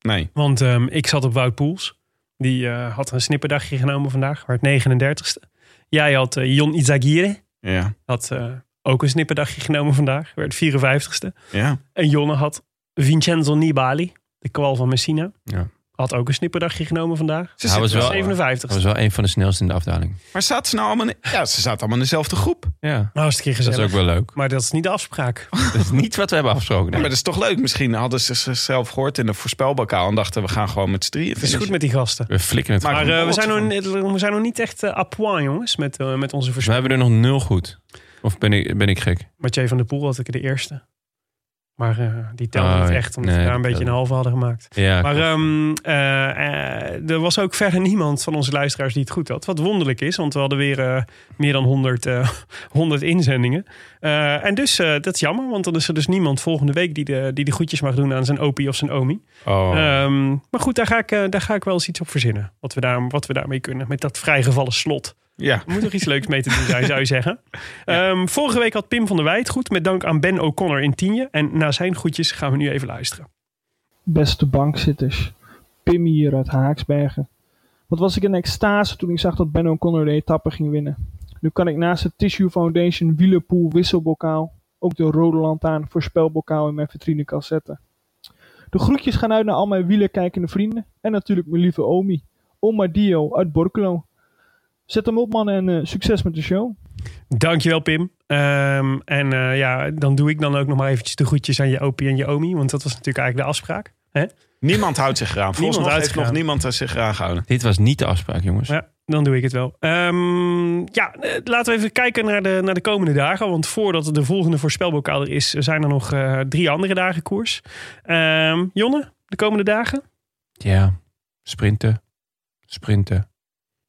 E: Nee.
B: want ehm, ik zat op Wout Poels. Die eh, had een snipperdagje genomen vandaag, maar het 39ste. Jij had eh, Jon Izagirre,
E: Ja.
B: had eh, ook een snipperdagje genomen vandaag, werd 54ste.
E: Ja.
B: En Jonne had Vincenzo Nibali, de kwal van Messina.
A: Ja.
B: Had ook een snipperdagje genomen vandaag.
E: Ze
A: Hij was
E: zitten-
A: wel-
B: 57.
A: Dat was wel een van de snelste in de afdaling.
E: Maar zaten ze nou allemaal in, ja, ze zaten allemaal in dezelfde groep.
A: Ja,
B: Nou, hartstikke
A: Dus dat
B: gezellig.
A: is ook wel leuk.
B: Maar dat is niet de afspraak.
A: Dat is niet wat we hebben afgesproken.
E: Ja,
A: nee.
E: maar dat is toch leuk. Misschien hadden ze zichzelf gehoord in een voorspelbokaal en dachten we gaan gewoon met z'n drieën.
B: Het is goed met die gasten.
A: We flikken het.
E: Maar-
B: Maar
E: een
B: eh, we,
E: borreltje
B: zijn nog, niet- we zijn nog niet echt eh, à point, jongens, met, eh, met onze
A: Dus we
B: voorspelling.
A: hebben er nog nul goed. Of ben ik, ben ik gek?
B: Mathieu van der Poel had ik de eerste. Maar eh, die telde
A: Oh,
B: niet echt, omdat
A: nee,
B: we daar een
A: die
B: beetje een
A: telde
B: halve hadden gemaakt.
A: Ja,
B: Maar
A: klopt.
B: ehm, eh, eh, er was ook verder niemand van onze luisteraars die het goed had. Wat wonderlijk is, want we hadden weer eh, meer dan 100, eh, 100 inzendingen. Eh, en dus, eh, dat is jammer, want dan is er dus niemand volgende week die de, die de groetjes mag doen aan zijn opie of zijn omi.
A: oh.
B: Ehm, maar goed, daar ga, ik, eh, daar ga ik wel eens iets op verzinnen. Wat we, daar, wat we daarmee kunnen, met dat vrijgevallen slot.
E: Ja.
B: Er moet nog iets leuks mee te doen zijn, zou je zeggen. Ehm, vorige week had Pim van der Wij het goed, met dank aan Ben O'Connor in Tienje. En na zijn groetjes gaan we nu even luisteren.
F: Beste bankzitters, Pim hier uit Haaksbergen. Wat was ik in extase toen ik zag dat Ben O'Connor de etappe ging winnen. Nu kan ik naast de Tissue Foundation wielerpool wisselbokaal ook de rode lantaarn voorspelbokaal in mijn vitrinekast zetten. De groetjes gaan uit naar al mijn wielerkijkende vrienden en natuurlijk mijn lieve Omi, Oma Dio uit Borculo. Zet hem op mannen en eh, succes met de show.
B: Dankjewel, Pim. Ehm, en eh, ja, dan doe ik dan ook nog maar eventjes de groetjes aan je opie en je omi. Want dat was natuurlijk eigenlijk de afspraak. Hè?
E: Niemand houdt zich eraan. Volgens
B: Niemand
E: mij
B: houdt
E: heeft
B: zich
E: nog
B: eraan.
E: niemand er zich eraan gehouden.
A: Dit was niet de afspraak, jongens.
B: Ja, dan doe ik het wel. Ehm, ja, eh, laten we even kijken naar de, naar de komende dagen. Want voordat de volgende voorspelbokaal er is, zijn er nog eh, drie andere dagen koers. Ehm, Jonne, de komende dagen?
A: Ja, sprinten, sprinten.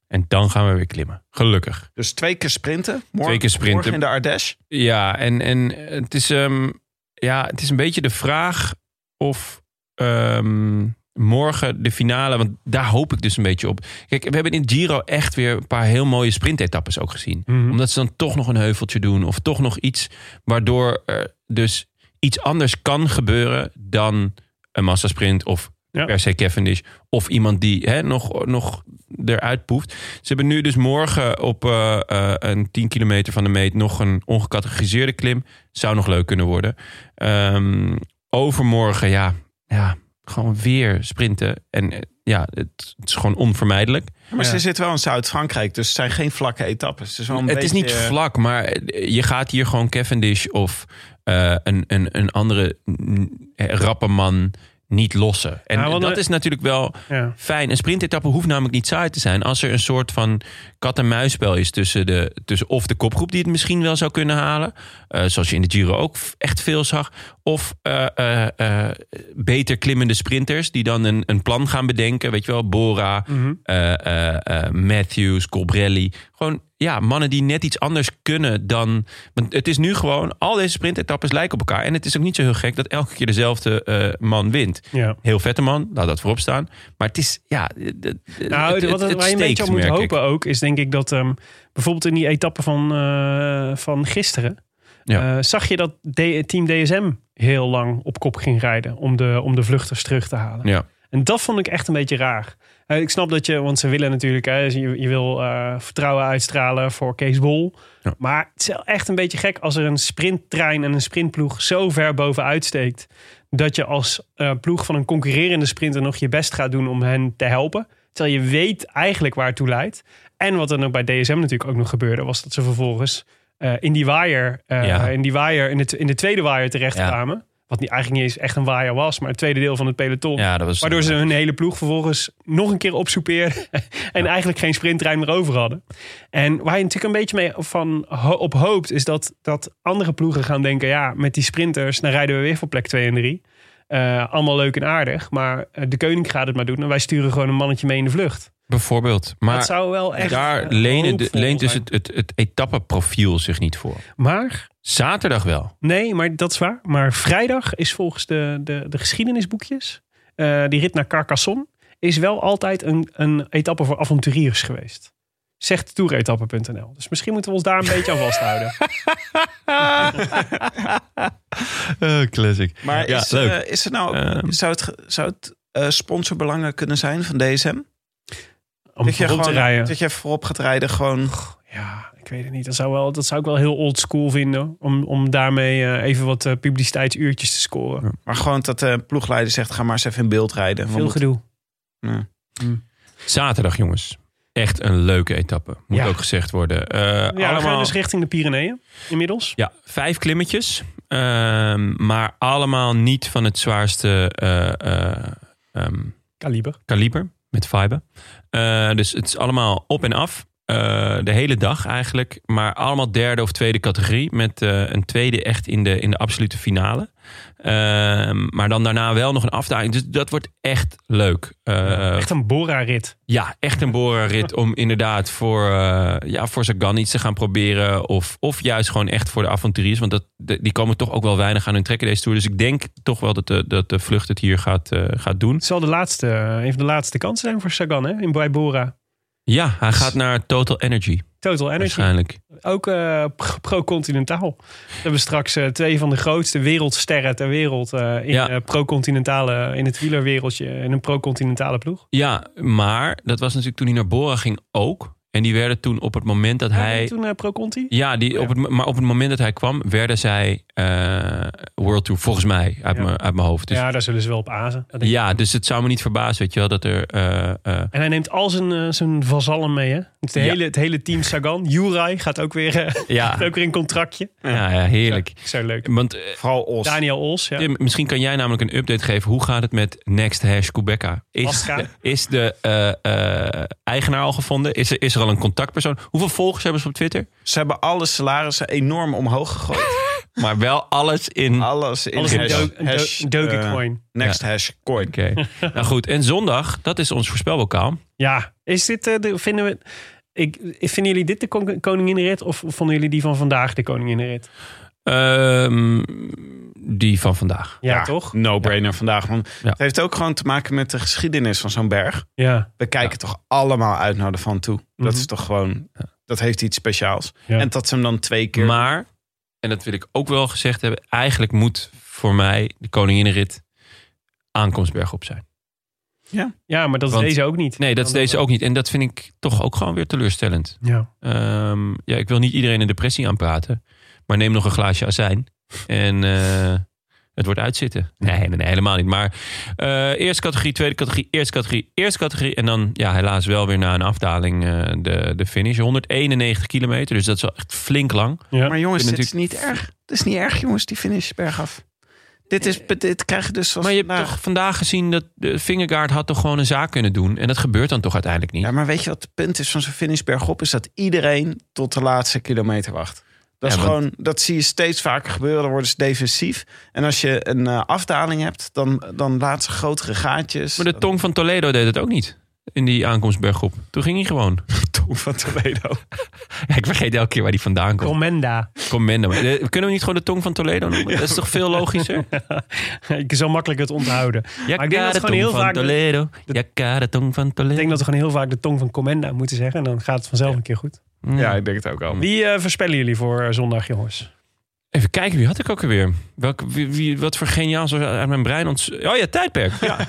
A: En dan gaan we weer klimmen. Gelukkig.
E: Dus twee keer sprinten. Morgen,
A: Twee keer sprinten.
E: morgen in de Ardèche.
A: Ja, en, en het, is, ehm, ja, het is een beetje de vraag of ehm, morgen de finale, want daar hoop ik dus een beetje op. Kijk, we hebben in Giro echt weer een paar heel mooie sprintetappes ook gezien. Omdat ze dan toch nog een heuveltje doen of toch nog iets waardoor er dus iets anders kan gebeuren dan een massasprint of
B: Ja.
A: per se Cavendish. Of iemand die hè, nog, nog eruit poeft. Ze hebben nu dus morgen op eh, eh, een 10 kilometer van de meet nog een ongecategoriseerde klim. Zou nog leuk kunnen worden. Ehm, overmorgen, ja, ja, gewoon weer sprinten. En eh, ja, het, het is gewoon onvermijdelijk.
E: Maar ze zit wel in Zuid-Frankrijk, dus het zijn geen vlakke etappes. Het is, wel een
A: het is
E: beetje-
A: niet vlak, maar eh, je gaat hier gewoon Cavendish of eh, een, een, een andere mm, eh, rappe man niet lossen. En
B: Ja, want,
A: dat
B: eh,
A: is natuurlijk wel
B: Ja.
A: fijn. Een sprintetappe hoeft namelijk niet saai te zijn. Als er een soort van kat-en-muisspel is tussen, de, tussen of de kopgroep die het misschien wel zou kunnen halen. eh, zoals je in de Giro ook f- echt veel zag. Of eh, eh, eh, beter klimmende sprinters die dan een, een plan gaan bedenken. Weet je wel, Bora, eh, eh, eh, Matthews, Colbrelli. Gewoon ja, mannen die net iets anders kunnen dan... Want het is nu gewoon, al deze sprintetappes lijken op elkaar. En het is ook niet zo heel gek dat elke keer dezelfde eh, man wint
B: ja.
A: heel vette man, laat dat voorop staan. Maar het is, ja... het- het-
B: Nou,
A: het-
B: wat,
A: het
B: waar je
A: steekt,
B: een beetje op moet
A: merk ik.
B: hopen ook, is denk ik dat ehm, bijvoorbeeld in die etappe van, eh, van gisteren,
A: Ja.
B: eh, zag je dat D- Team DSM heel lang op kop ging rijden om de, om de vluchters terug te halen.
A: Ja,
B: En dat vond ik echt een beetje raar. Eh, ik snap dat je, want ze willen natuurlijk, hè, je, je wil eh, vertrouwen uitstralen voor Kees Bol.
A: Ja.
B: Maar het is wel echt een beetje gek als er een sprinttrein en een sprintploeg zo ver bovenuit steekt. Dat je als eh, ploeg van een concurrerende sprinter nog je best gaat doen om hen te helpen. Terwijl je weet eigenlijk waar het toe leidt. En wat er nog bij DSM natuurlijk ook nog gebeurde, was dat ze vervolgens eh, in die waaier, eh,
A: Ja.
B: in, die waaier in, de, in de tweede waaier terecht
A: Ja.
B: kwamen. Wat niet, eigenlijk niet eens echt een waaier was, maar het tweede deel van het peloton.
A: ja, dat was...
B: Waardoor ze hun hele ploeg vervolgens nog een keer opsoupeerden. en eigenlijk geen sprinttrein meer over hadden. En waar je natuurlijk een beetje mee van ho- op hoopt. Is dat, dat andere ploegen gaan denken. Ja, met die sprinters. Dan rijden we weer voor plek 2 en 3. Eh, allemaal leuk en aardig. Maar eh, de koning gaat het maar doen. En wij sturen gewoon een mannetje mee in de vlucht.
A: Bijvoorbeeld.
B: dat
A: Maar
B: zou wel echt.
A: daar
B: eh,
A: lenen de-
B: hoopvol
A: leent dus
B: zijn.
A: het, het, het etappeprofiel zich niet voor.
B: Maar,
A: Zaterdag wel.
B: nee, maar dat is waar. Maar vrijdag is volgens de, de, de geschiedenisboekjes. eh, die rit naar Carcassonne is wel altijd een, een etappe voor avonturiers geweest. Zegt toeretappe.nl. Dus misschien moeten we ons daar een beetje aan vasthouden.
A: classic.
E: Maar
A: Ja,
E: is,
A: leuk.
E: eh, is er nou,
A: Ehm.
E: zou het, ge- zou het eh, sponsorbelangen kunnen zijn van DSM?
B: Om
E: dat, je
B: voorop te rijden.
E: dat je voorop gaat rijden gewoon...
B: Ja, ik weet het niet. Dat zou, wel, dat zou ik wel heel old school vinden. Om, om daarmee eh, even wat eh, publiciteitsuurtjes te scoren.
E: Maar gewoon dat de ploegleider zegt, ga maar eens even in beeld rijden. We
B: Veel
E: moeten-
B: gedoe.
E: Ja.
A: Zaterdag, jongens. Echt een leuke etappe. Moet
B: Ja.
A: ook gezegd worden. Eh,
B: Ja, we gaan
A: allemaal,
B: dus richting de Pyreneeën inmiddels.
A: ja, vijf klimmetjes. Ehm, maar allemaal niet van het zwaarste eh, eh, ehm,
B: Kaliber.
A: kaliber met fiber. Eh, dus het is allemaal op en af. Eh, de hele dag eigenlijk. Maar allemaal derde of tweede categorie. Met eh, een tweede echt in de, in de absolute finale. Ehm, maar dan daarna wel nog een afdaling. Dus dat wordt echt leuk. Eh,
B: Echt een Bora-rit.
A: ja, echt een borenrit om inderdaad voor, eh ja, voor Sagan iets te gaan proberen. Of, of juist gewoon echt voor de avonturiers. Want dat, de- die komen toch ook wel weinig aan hun trekken deze Tour. Dus ik denk toch wel dat de, dat de vlucht het hier gaat, eh, gaat doen.
B: Het zal de laatste, eh, een van de laatste kansen zijn voor Sagan hè? In, bij Bora.
A: Ja, hij gaat naar Total Energy
B: Total Energy.
A: waarschijnlijk.
B: Ook eh, pro- pro-continentaal. We hebben straks eh, twee van de grootste wereldsterren ter wereld eh, in,
A: Ja.
B: eh, pro-continentale, in het wielerwereldje. In een pro-continentale ploeg.
A: Ja, maar dat was natuurlijk toen hij naar Bora ging ook. En die werden toen op het moment dat
B: Ja,
A: hij...
B: Toen Oh eh, pro-conti.
A: Ja, die, op het, maar op het moment dat hij kwam, werden zij eh, World Tour, volgens mij, uit,
B: Ja.
A: mijn, uit mijn hoofd. Dus, ja.
B: ja, daar zullen ze wel op azen. Dat denk ik.
A: dus het zou me niet verbazen, weet je wel, dat er... eh, eh,
B: En hij neemt al zijn, eh, zijn vazallen mee, hè? Het,
A: Ja.
B: hele, het hele team Sagan. Jurai gaat ook weer, eh,
A: ja,
B: heeft ook weer een contractje.
A: ja, ja, heerlijk.
B: Zo leuk.
A: Want eh,
E: Vooral Os.
B: Daniel Ols, ja.
A: Tim, misschien kan jij namelijk een update geven. Hoe gaat het met Next Hash Quebecca? Is,
B: Pasca.
A: is de eh, eh, eigenaar al gevonden? Is er, is er al een contactpersoon? Hoeveel volgers hebben ze op Twitter?
E: Ze hebben alle salarissen enorm omhoog gegooid.
A: Maar wel alles in...
E: Alles in
B: Alles
E: hash,
B: in do- een do-
E: hash,
B: een Dogecoin.
E: eh, next hash coin.
A: Oké. nou goed, en zondag, dat is ons voorspelbokaal.
B: Ja, is dit, eh, de, vinden we... Ik, vinden jullie dit de kon- koninginrit of vonden jullie die van vandaag de koninginrit?
A: Ehm, die van vandaag.
B: Ja, toch?
E: No-brainer vandaag. Want
A: Ja.
E: het heeft ook gewoon te maken met de geschiedenis van zo'n berg.
B: Ja.
E: We kijken toch allemaal uit naar de Van toe.
A: Mhm.
E: Dat is toch gewoon... Dat heeft iets speciaals.
B: Ja.
E: En dat ze hem dan twee keer...
A: Maar, en dat wil ik ook wel gezegd hebben... eigenlijk moet voor mij de koninginrit aankomstberg op zijn.
B: ja, maar dat is
A: Want-
B: deze ook niet.
A: Nee, dat is deze ook niet. En dat vind ik toch ook gewoon weer teleurstellend.
B: Ja.
A: Ehm, ja, ik wil niet iedereen een depressie aanpraten. Maar neem nog een glaasje azijn. En eh, het wordt uitzitten. Nee, nee, nee, helemaal niet. Maar eh, eerste categorie, tweede categorie, eerste categorie, eerste categorie. En dan ja, helaas wel weer na een afdaling eh, de, de finish. 191 kilometer, dus dat is wel echt flink lang.
B: Ja.
E: Maar jongens,
A: Ik
E: dit
A: ben
E: is niet erg. Dit is niet erg, jongens, die finish bergaf. Dit, is, dit krijg je dus zoals
A: Maar je hebt
E: vandaag.
A: toch vandaag gezien dat de Vingegaard had toch gewoon een zaak kunnen doen. En dat gebeurt dan toch uiteindelijk niet.
E: Ja, maar weet je wat het punt is van zo'n finish bergop? Is dat iedereen tot de laatste kilometer wacht. Dat, is
A: Ja, want-
E: gewoon, dat zie je steeds vaker gebeuren. Dan worden ze defensief. En als je een eh, afdaling hebt, dan, dan laat ze grotere gaatjes.
A: Maar de tong van Toledo deed het ook niet. In die aankomstbergop. Toen ging hij gewoon.
E: tong van Toledo.
A: Ja, ik vergeet elke keer waar die vandaan komt.
B: Comenda.
A: Commando. Maar, eh, Kunnen we niet gewoon de tong van Toledo noemen? Dat is toch veel logischer?
B: ik zo makkelijk het onthouden.
A: Ja,
B: Maar ik denk dat het gewoon heel vaak...
A: Toledo.
B: dat-
A: Ja, de tong van Toledo.
B: Ik denk dat we gewoon heel vaak de tong van Comenda moeten zeggen. En dan gaat het vanzelf een keer goed.
E: Ja, ik denk het ook al.
B: Wie eh, voorspellen jullie voor eh, zondag, jongens?
A: Even kijken, wie had ik ook alweer? Welke, wie, wie- wat voor geniaal zo uit mijn brein ont... Oh ja, tijdperk. Ja.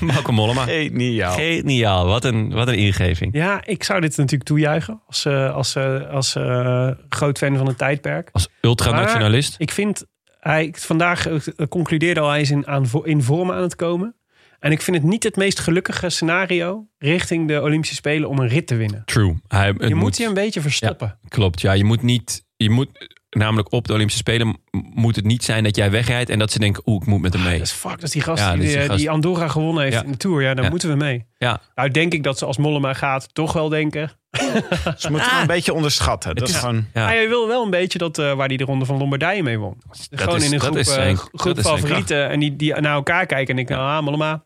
A: Malcolm Mollema.
E: Geniaal.
A: Geniaal. Wat een, wat een ingeving.
B: Ja, ik zou dit natuurlijk toejuichen als, eh, als, eh, als eh, groot fan van het tijdperk.
A: Als ultranationalist.
B: Ik vind, hij vandaag eh, concludeerde al, hij is in, aan, in vorm aan het komen. En ik vind het niet het meest gelukkige scenario richting de Olympische Spelen om een rit te winnen.
A: True. Hij, het
B: Je moet
A: moet-
B: je een beetje verstoppen.
A: Klopt, ja. Je moet niet... Je moet, eh, namelijk op de Olympische Spelen m- moet het niet zijn dat jij wegrijdt... en dat ze denken, oeh, ik moet met hem mee.
B: Ah, Dat is fuck, dat is die gast,
A: Ja,
B: die,
A: dat is die
B: eh,
A: gast.
B: die Andorra gewonnen heeft
A: Ja.
B: in de Tour. Ja, daar
A: Ja.
B: moeten we mee.
A: Ja.
B: Nou, denk ik dat ze als Mollema gaat toch wel denken...
E: Ze moeten hem een beetje onderschatten. Dat
A: Het
E: Ah. is
A: is-
E: gewoon...
A: Ja.
B: Hij wil wel een beetje dat, eh, waar hij de Ronde van Lombardije mee won. Gewoon
A: is-
B: in een
A: dat
B: groep,
A: is
B: eh,
A: zijn-
B: groep
A: dat is zijn
B: favorieten. En die, die naar elkaar kijken. En denken, ah, Mollema.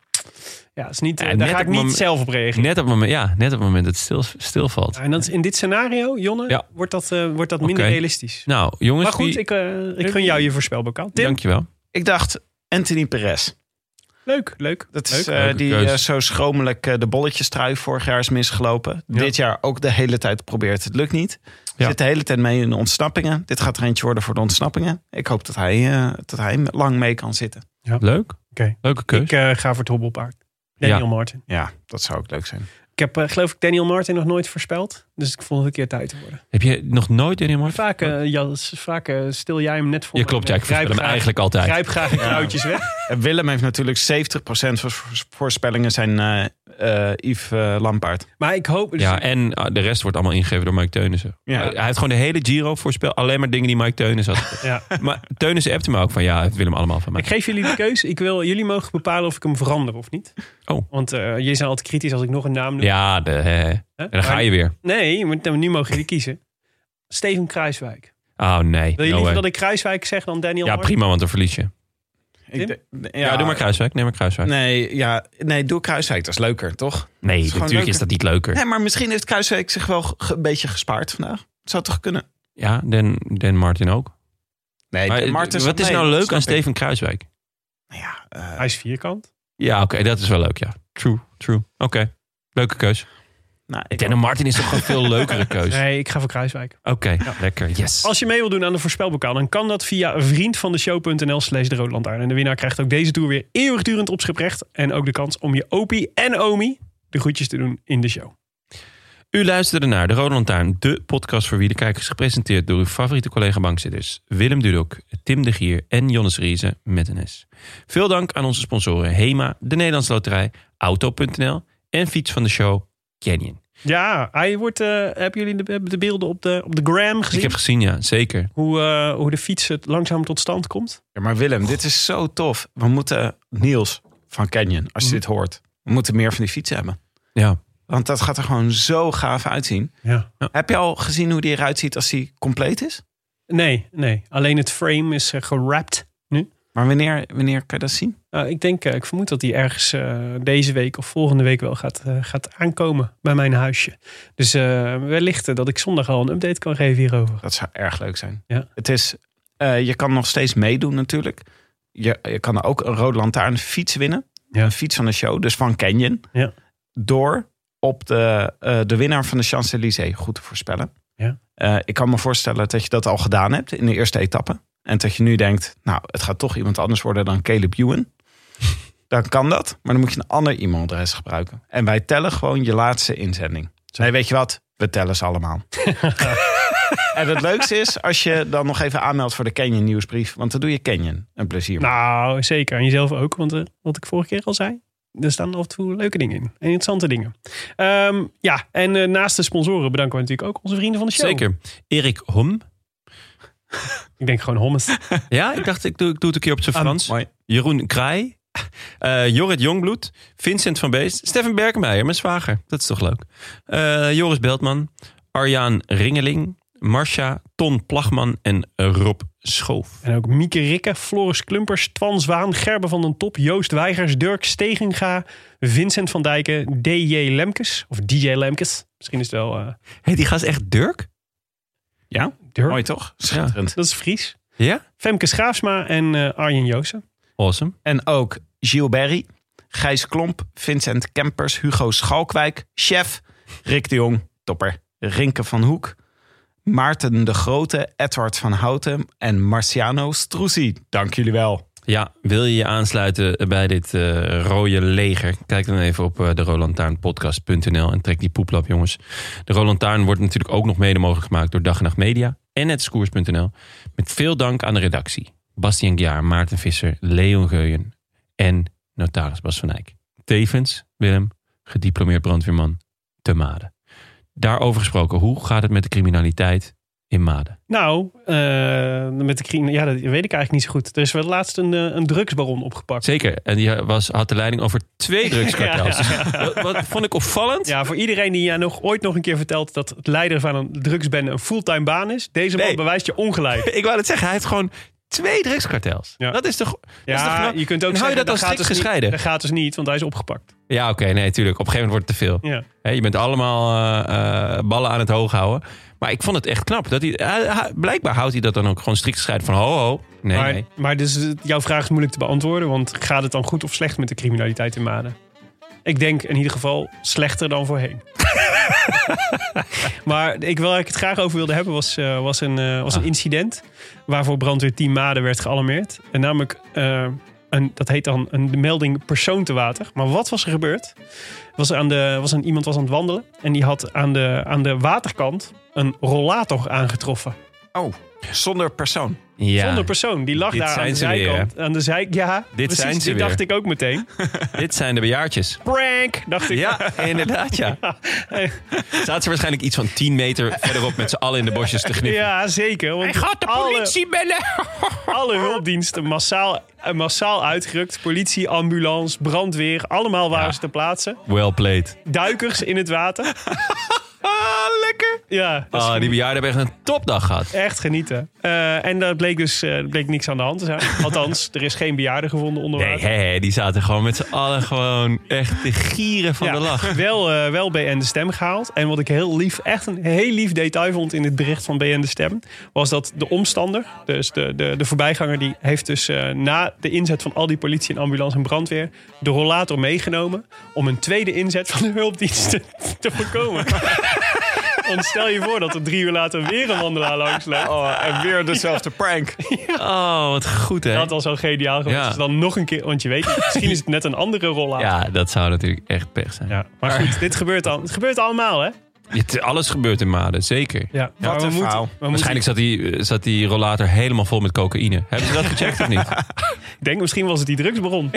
B: Ja, is niet, eh,
A: Ja,
B: daar
A: net
B: ga ik
A: op
B: niet
A: mom-
B: zelf op reageren.
A: Net op het moment, ja, net op het moment dat het stil, stilvalt.
B: Ja, en dat is, in dit scenario, Jonne,
A: Ja.
B: wordt dat, eh, wordt dat minder
A: Oké.
B: realistisch.
A: Nou, jongens,
B: Maar goed,
A: wie-
B: ik, eh, ik gun jou je voorspelbokaal. Tim,
A: dankjewel.
E: Ik dacht, Anthony Perez.
B: leuk, leuk.
E: Dat
B: Leuk.
E: is eh,
A: Leuke
E: die
A: keus.
E: eh, zo schromelijk eh, de bolletjes trui vorig jaar is misgelopen. Dit jaar ook de hele tijd probeert. Het lukt niet.
A: Ja.
E: Zit de hele tijd mee in de ontsnappingen. Dit gaat er eentje worden voor de ontsnappingen. Ik hoop dat hij, eh, dat hij lang mee kan zitten.
A: Leuk.
B: Oké.
A: Leuke keus.
B: Ik eh, ga voor het hobbelpaard. Daniel Martin.
E: Ja, dat zou ook leuk zijn.
B: Ik heb, eh, geloof ik, Daniel Martin nog nooit voorspeld. Dus ik vond het een keer tijd te worden.
A: Heb je nog nooit Danny Martin?
B: Vaak, eh, ja, s- vaak eh, stil jij hem net voor.
A: Je
B: me.
A: klopt, ja, ik
B: Grijp
A: voorspel hem
B: graag-
A: eigenlijk altijd.
B: Grijp graag de kruidjes weg.
E: En Willem heeft natuurlijk 70% van zijn voorspellingen zijn eh, eh, Yves eh, Lampaard.
B: Maar ik hoop... Dus,
A: Ja, en ah, de rest wordt allemaal ingegeven door Mike Teunissen.
E: Ja.
A: Hij- Hij heeft gewoon de hele Giro voorspel. Alleen maar dingen die Mike Teunissen had.
B: ja.
A: maar Teunissen appte me ook van ja, het wil hem allemaal van mij.
B: Ik geef jullie de keus. Ik wil, jullie mogen bepalen of ik hem verander of niet.
A: Oh.
B: Want eh, jullie zijn altijd kritisch als ik nog een naam noem.
A: Ja, de, hè. En
B: Hè?
A: dan ga je weer.
B: Maar- Nee, maar dan- nu mogen jullie kiezen. Steven Kruiswijk.
A: Oh nee.
B: Wil je
A: no
B: liever
A: way.
B: dat ik Kruiswijk zeg dan Daniel
A: Ja,
B: Hart?
A: prima, want dan verlies je.
B: Tim?
E: Ik denk-
A: Ja, doe maar Kruiswijk. Neem maar Kruiswijk.
E: Nee, ja, nee, doe Kruiswijk. Dat is leuker, toch?
A: Nee,
E: is gewoon
A: natuurlijk is
E: leuker.
A: dat niet leuker.
E: Nee, maar misschien heeft Kruiswijk zich wel ge- een beetje gespaard vandaag. Zou toch kunnen?
A: Ja, Den, Den Martin ook.
E: Nee, eh,
A: Maar,
E: Martens-
A: wat is
E: nee,
A: nou leuk
E: snap
A: aan
E: ik.
A: Steven Kruiswijk?
E: Nou Ja, eh,
B: Hij is vierkant.
A: Ja, oké, dat is wel leuk, ja. True, true. Oké, leuke keus.
E: nou, ik-
A: Den Martin is toch een veel leukere keus.
B: Nee, ik ga voor Kruiswijk.
A: Oké, lekker, yes.
E: Oh,
B: Als je mee wil doen aan de voorspelbokaal, dan kan dat via vriendvandeshow.nl slash de Roodlantaarn. En de winnaar krijgt ook deze tour weer eeuwigdurend opscheprecht. En ook de kans om je opie en omi de groetjes te doen in de show.
A: U luisterde naar De Rode Lantaarn, de podcast voor wie de kijkers gepresenteerd door uw favoriete collega-bankzitters Willem Dudok, Tim de Gier en Jonas Riese met een S. Veel dank aan onze sponsoren HEMA, de Nederlandse Loterij, Auto.nl en fiets van de show Canyon.
B: Ja, hij wordt, eh, hebben jullie de, hebben de beelden op de, op de gram gezien?
A: Ik heb gezien, ja, zeker.
B: hoe, eh, hoe de fiets het langzaam tot stand komt?
E: Ja, maar Willem, dit is zo tof. We moeten Niels van Canyon, als je dit hoort. We moeten meer van die fietsen hebben.
A: Ja.
E: Want dat gaat er gewoon zo gaaf uitzien.
B: Ja.
E: Heb je al gezien hoe die eruit ziet als die compleet is?
B: Nee, nee. Alleen het frame is eh, gerapt nu.
E: Maar wanneer, wanneer kan je dat zien?
B: Nou, ik denk, eh, ik vermoed dat die ergens eh, deze week of volgende week wel gaat, eh, gaat aankomen bij mijn huisje. Dus eh, wellicht eh, dat ik zondag al een update kan geven hierover.
E: Dat zou erg leuk zijn.
B: Ja.
E: Het is, eh, je kan nog steeds meedoen natuurlijk. Je, je kan ook een rode lantaarn fiets winnen.
B: Ja.
E: Een fiets van de show, dus van Canyon.
B: Ja.
E: Door op de, eh, de winnaar van de Champs-Élysées goed te voorspellen.
B: Ja.
E: Eh, ik kan me voorstellen dat je dat al gedaan hebt in de eerste etappe. En dat je nu denkt, nou, het gaat toch iemand anders worden dan Caleb Ewan. dan kan dat, maar dan moet je een ander e-mailadres gebruiken. En wij tellen gewoon je laatste inzending. Nee, weet je wat? We tellen ze allemaal. En het leukste is als je dan nog even aanmeldt voor de Canyon nieuwsbrief. Want dan doe je Canyon een plezier. mee.
B: Nou, zeker. En jezelf ook, want eh, wat ik vorige keer al zei. Er staan af en toe leuke dingen in. En interessante dingen. Ehm, ja, en eh, naast de sponsoren bedanken we natuurlijk ook onze vrienden van de show.
A: Zeker. Erik Hom.
B: Ik denk gewoon hommes.
A: Ja, ik dacht, ik doe, ik doe het een keer op zijn
B: Ah,
A: Frans.
E: mooi.
A: Jeroen Kraai. eh, Jorrit Jongbloed. Vincent van Beest. Steffen Berkemeijer, mijn zwager. Dat is toch leuk. Eh, Joris Beltman. Arjaan Ringeling. Marcia, Ton Plagman en Rob Schoof.
B: En ook Mieke Rikke, Floris Klumpers, Twan Zwaan, Gerben van den Top, Joost Weigers, Dirk Stegenga, Vincent van Dijken, DJ Lemkes. Of DJ Lemkes. Misschien is het wel eh,
A: Hé, die gast echt Dirk?
E: Ja,
B: Dirk.
E: mooi toch? Schitterend.
B: Dat is Fries.
A: Ja?
B: Femke Schaafsma en eh, Arjen Joosen.
A: Awesome.
E: En ook Gilles Berry, Gijs Klomp, Vincent Kempers, Hugo Schalkwijk, Chef, Rick de Jong, Topper, Rinke van Hoek, Maarten de Grote, Edward van Houten en Marciano Struzzi. Dank jullie wel.
A: Ja, wil je je aansluiten bij dit eh, rode leger? Kijk dan even op eh de rolantaarnpodcast.nl en trek die poeplap, jongens. De Rolantaarn wordt natuurlijk ook nog mede mogelijk gemaakt door Dag en Nacht Media en het Skoers.nl. Met veel dank aan de redactie. Bastian Gjaar, Maarten Visser, Leon Geuyen en notaris Bas van Eyck. Tevens, Willem, gediplomeerd brandweerman te Maden. Daarover gesproken, hoe gaat het met de criminaliteit in Maden?
B: Nou, eh, met de crime, ja, dat weet ik eigenlijk niet zo goed. Er is wel laatst een, eh, een drugsbaron opgepakt.
A: Zeker, en die was, had de leiding over twee drugskartels.
B: Ja, ja.
A: Wat, wat vond ik opvallend.
B: Ja, voor iedereen die ja nog, ooit nog een keer vertelt dat het leider van een drugsbende een fulltime baan is. Deze man
A: Nee.
B: bewijst je ongelijk.
A: Ik wou het zeggen, hij heeft gewoon twee drugskartels.
B: Ja.
A: Dat is toch... dat is
B: Ja,
A: toch knap?
B: je kunt ook
A: en hou je
B: zeggen,
A: dat dan
B: gaat
A: strikt
B: dus niet-
A: gescheiden?
B: Dat gaat dus niet, want hij is opgepakt.
A: Ja, oké, nee, tuurlijk. Op een gegeven moment wordt het te veel.
B: Ja.
A: Hè, je bent allemaal eh, eh, ballen aan het hoog houden. Maar ik vond het echt knap. Dat hij, hij- hij- blijkbaar houdt hij dat dan ook gewoon strikt gescheiden van ho, ho. Nee,
B: maar,
A: nee.
B: maar dus eh, jouw vraag is moeilijk te beantwoorden, want gaat het dan goed of slecht met de criminaliteit in Maden? Ik denk in ieder geval slechter dan voorheen. maar ik, waar ik het graag over wilde hebben was, eh, was, een, eh, was een
A: Ah.
B: incident waarvoor brandweer Team Maden werd gealarmeerd. En namelijk, eh, een, dat heet dan een de melding persoon te water. Maar wat was er gebeurd? Was aan de, was een, iemand was aan het wandelen en die had aan de, aan de waterkant een rollator aangetroffen.
E: Zonder persoon.
A: Ja.
B: Zonder persoon. Die lag
A: Dit
B: daar aan
A: zijn
B: de
A: ze weer,
B: zijkant. aan de zij... Ja,
A: Dit
B: precies,
A: zijn ze
B: dit dacht
A: weer.
B: ik ook meteen.
A: Dit zijn de bejaardjes.
B: Prank, dacht ik.
A: Ja, inderdaad, ja. Zaten ze waarschijnlijk iets van 10 meter verderop met z'n allen in de bosjes te knippen.
B: Ja, zeker. Want
A: bellen!
B: Alle, alle hulpdiensten massaal, eh, massaal uitgerukt. Politie, ambulance, brandweer. Allemaal waren
A: Ja.
B: ze te plaatsen.
A: Well played.
B: Duikers in het water.
A: Ah, lekker!
B: Ja, dat is
A: Ah, die bejaarden hebben echt een topdag gehad.
B: echt genieten. Eh, en daar bleek dus eh, er bleek niks aan de hand te zijn. Althans, er is geen bejaarde gevonden onder
A: Nee,
B: water.
A: hè, hè, die zaten gewoon met z'n allen gewoon echt te gieren van de lach.
B: Wel, eh, wel BN de Stem gehaald. En wat ik heel lief, echt een heel lief detail vond in het bericht van BN de Stem, was dat de omstander, dus de, de, de voorbijganger, die heeft dus eh, na de inzet van al die politie en ambulance en brandweer de rollator meegenomen om een tweede inzet van de hulpdiensten te voorkomen. Want stel je voor dat er drie uur later weer een wandelaar langs loopt.
E: Oh, en weer
A: dus-
E: dezelfde prank.
A: Oh, wat goed, hè?
B: Dat was al geniaal geweest.
A: Ja.
B: Dus dan nog een keer, want je weet niet, misschien is het net een andere rollator.
A: Ja, dat zou natuurlijk echt pech zijn.
B: Ja, maar goed, dit gebeurt al. Het gebeurt allemaal, hè?
A: Het- Alles gebeurt in Maden, zeker.
B: Ja, maar
E: een
B: moeten-
E: verhaal.
B: we moeten-
A: Waarschijnlijk zat die, eh, zat die rollator helemaal vol met cocaïne. Hebben ze dat gecheckt of niet?
B: Ik denk misschien was het die drugsbron.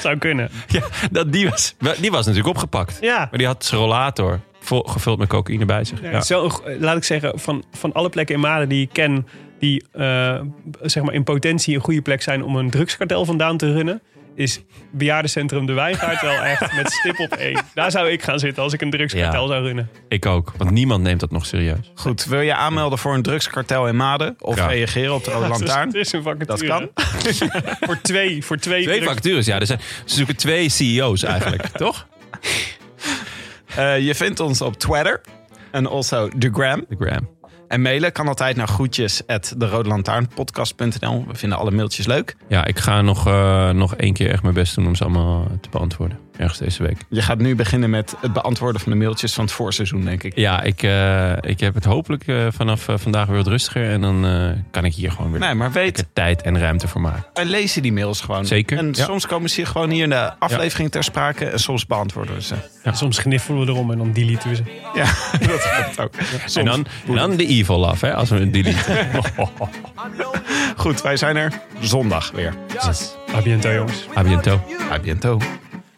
B: Zou kunnen.
A: Ja, dat, die, was, wel, die was natuurlijk opgepakt.
B: Ja.
A: Maar die had zijn rollator vol, gevuld met cocaïne bij zich.
B: Ja.
A: Ja.
B: Zo, eh, laat ik zeggen, van, van alle plekken in Maden die ik ken... die eh, zeg maar in potentie een goede plek zijn om een drugskartel vandaan te runnen... is bejaardencentrum De Wijngaard wel echt met stip op één. Daar zou ik gaan zitten als ik een drugskartel
A: Ja.
B: zou runnen.
A: Ik ook, want niemand neemt dat nog serieus.
E: Goed, wil je aanmelden voor een drugskartel in Maden? Of
A: Ja.
E: reageren op de Rode
B: Dus het
E: Lantaarn?
B: is een vacature.
E: Dat
B: voor twee, voor twee,
A: Twee
B: drugs-
A: vacatures, ja. Er zijn, ze zoeken twee CEO's eigenlijk, toch?
E: Eh, je vindt ons op Twitter. En also de Gram.
A: De Graham.
E: En mailen kan altijd naar groetjes at derodelantaarnpodcast.nl. We vinden alle mailtjes leuk.
A: Ja, ik ga nog, eh, nog één keer echt mijn best doen om ze allemaal te beantwoorden. Ergens deze week.
E: Je gaat nu beginnen met het beantwoorden van de mailtjes van het voorseizoen, denk ik.
A: Ja, ik, eh, ik heb het hopelijk eh, vanaf eh, vandaag weer wat rustiger. En dan eh, kan ik hier gewoon weer
E: Nee, maar weet,
A: lekker tijd en ruimte voor maken.
E: wij lezen die mails gewoon.
A: Zeker,
E: En
A: ja.
E: soms komen ze gewoon hier in de aflevering ter sprake. En soms beantwoorden we ze.
B: Soms gniffelen we erom en dan deleten we ze.
E: Ja, dat gebeurt ook. Soms.
A: En dan, en dan de evil love, hè, als we het delete. Oh,
E: Goed, wij zijn er zondag weer.
B: A bientôt, jongens.
A: A bientôt.
E: A bientôt.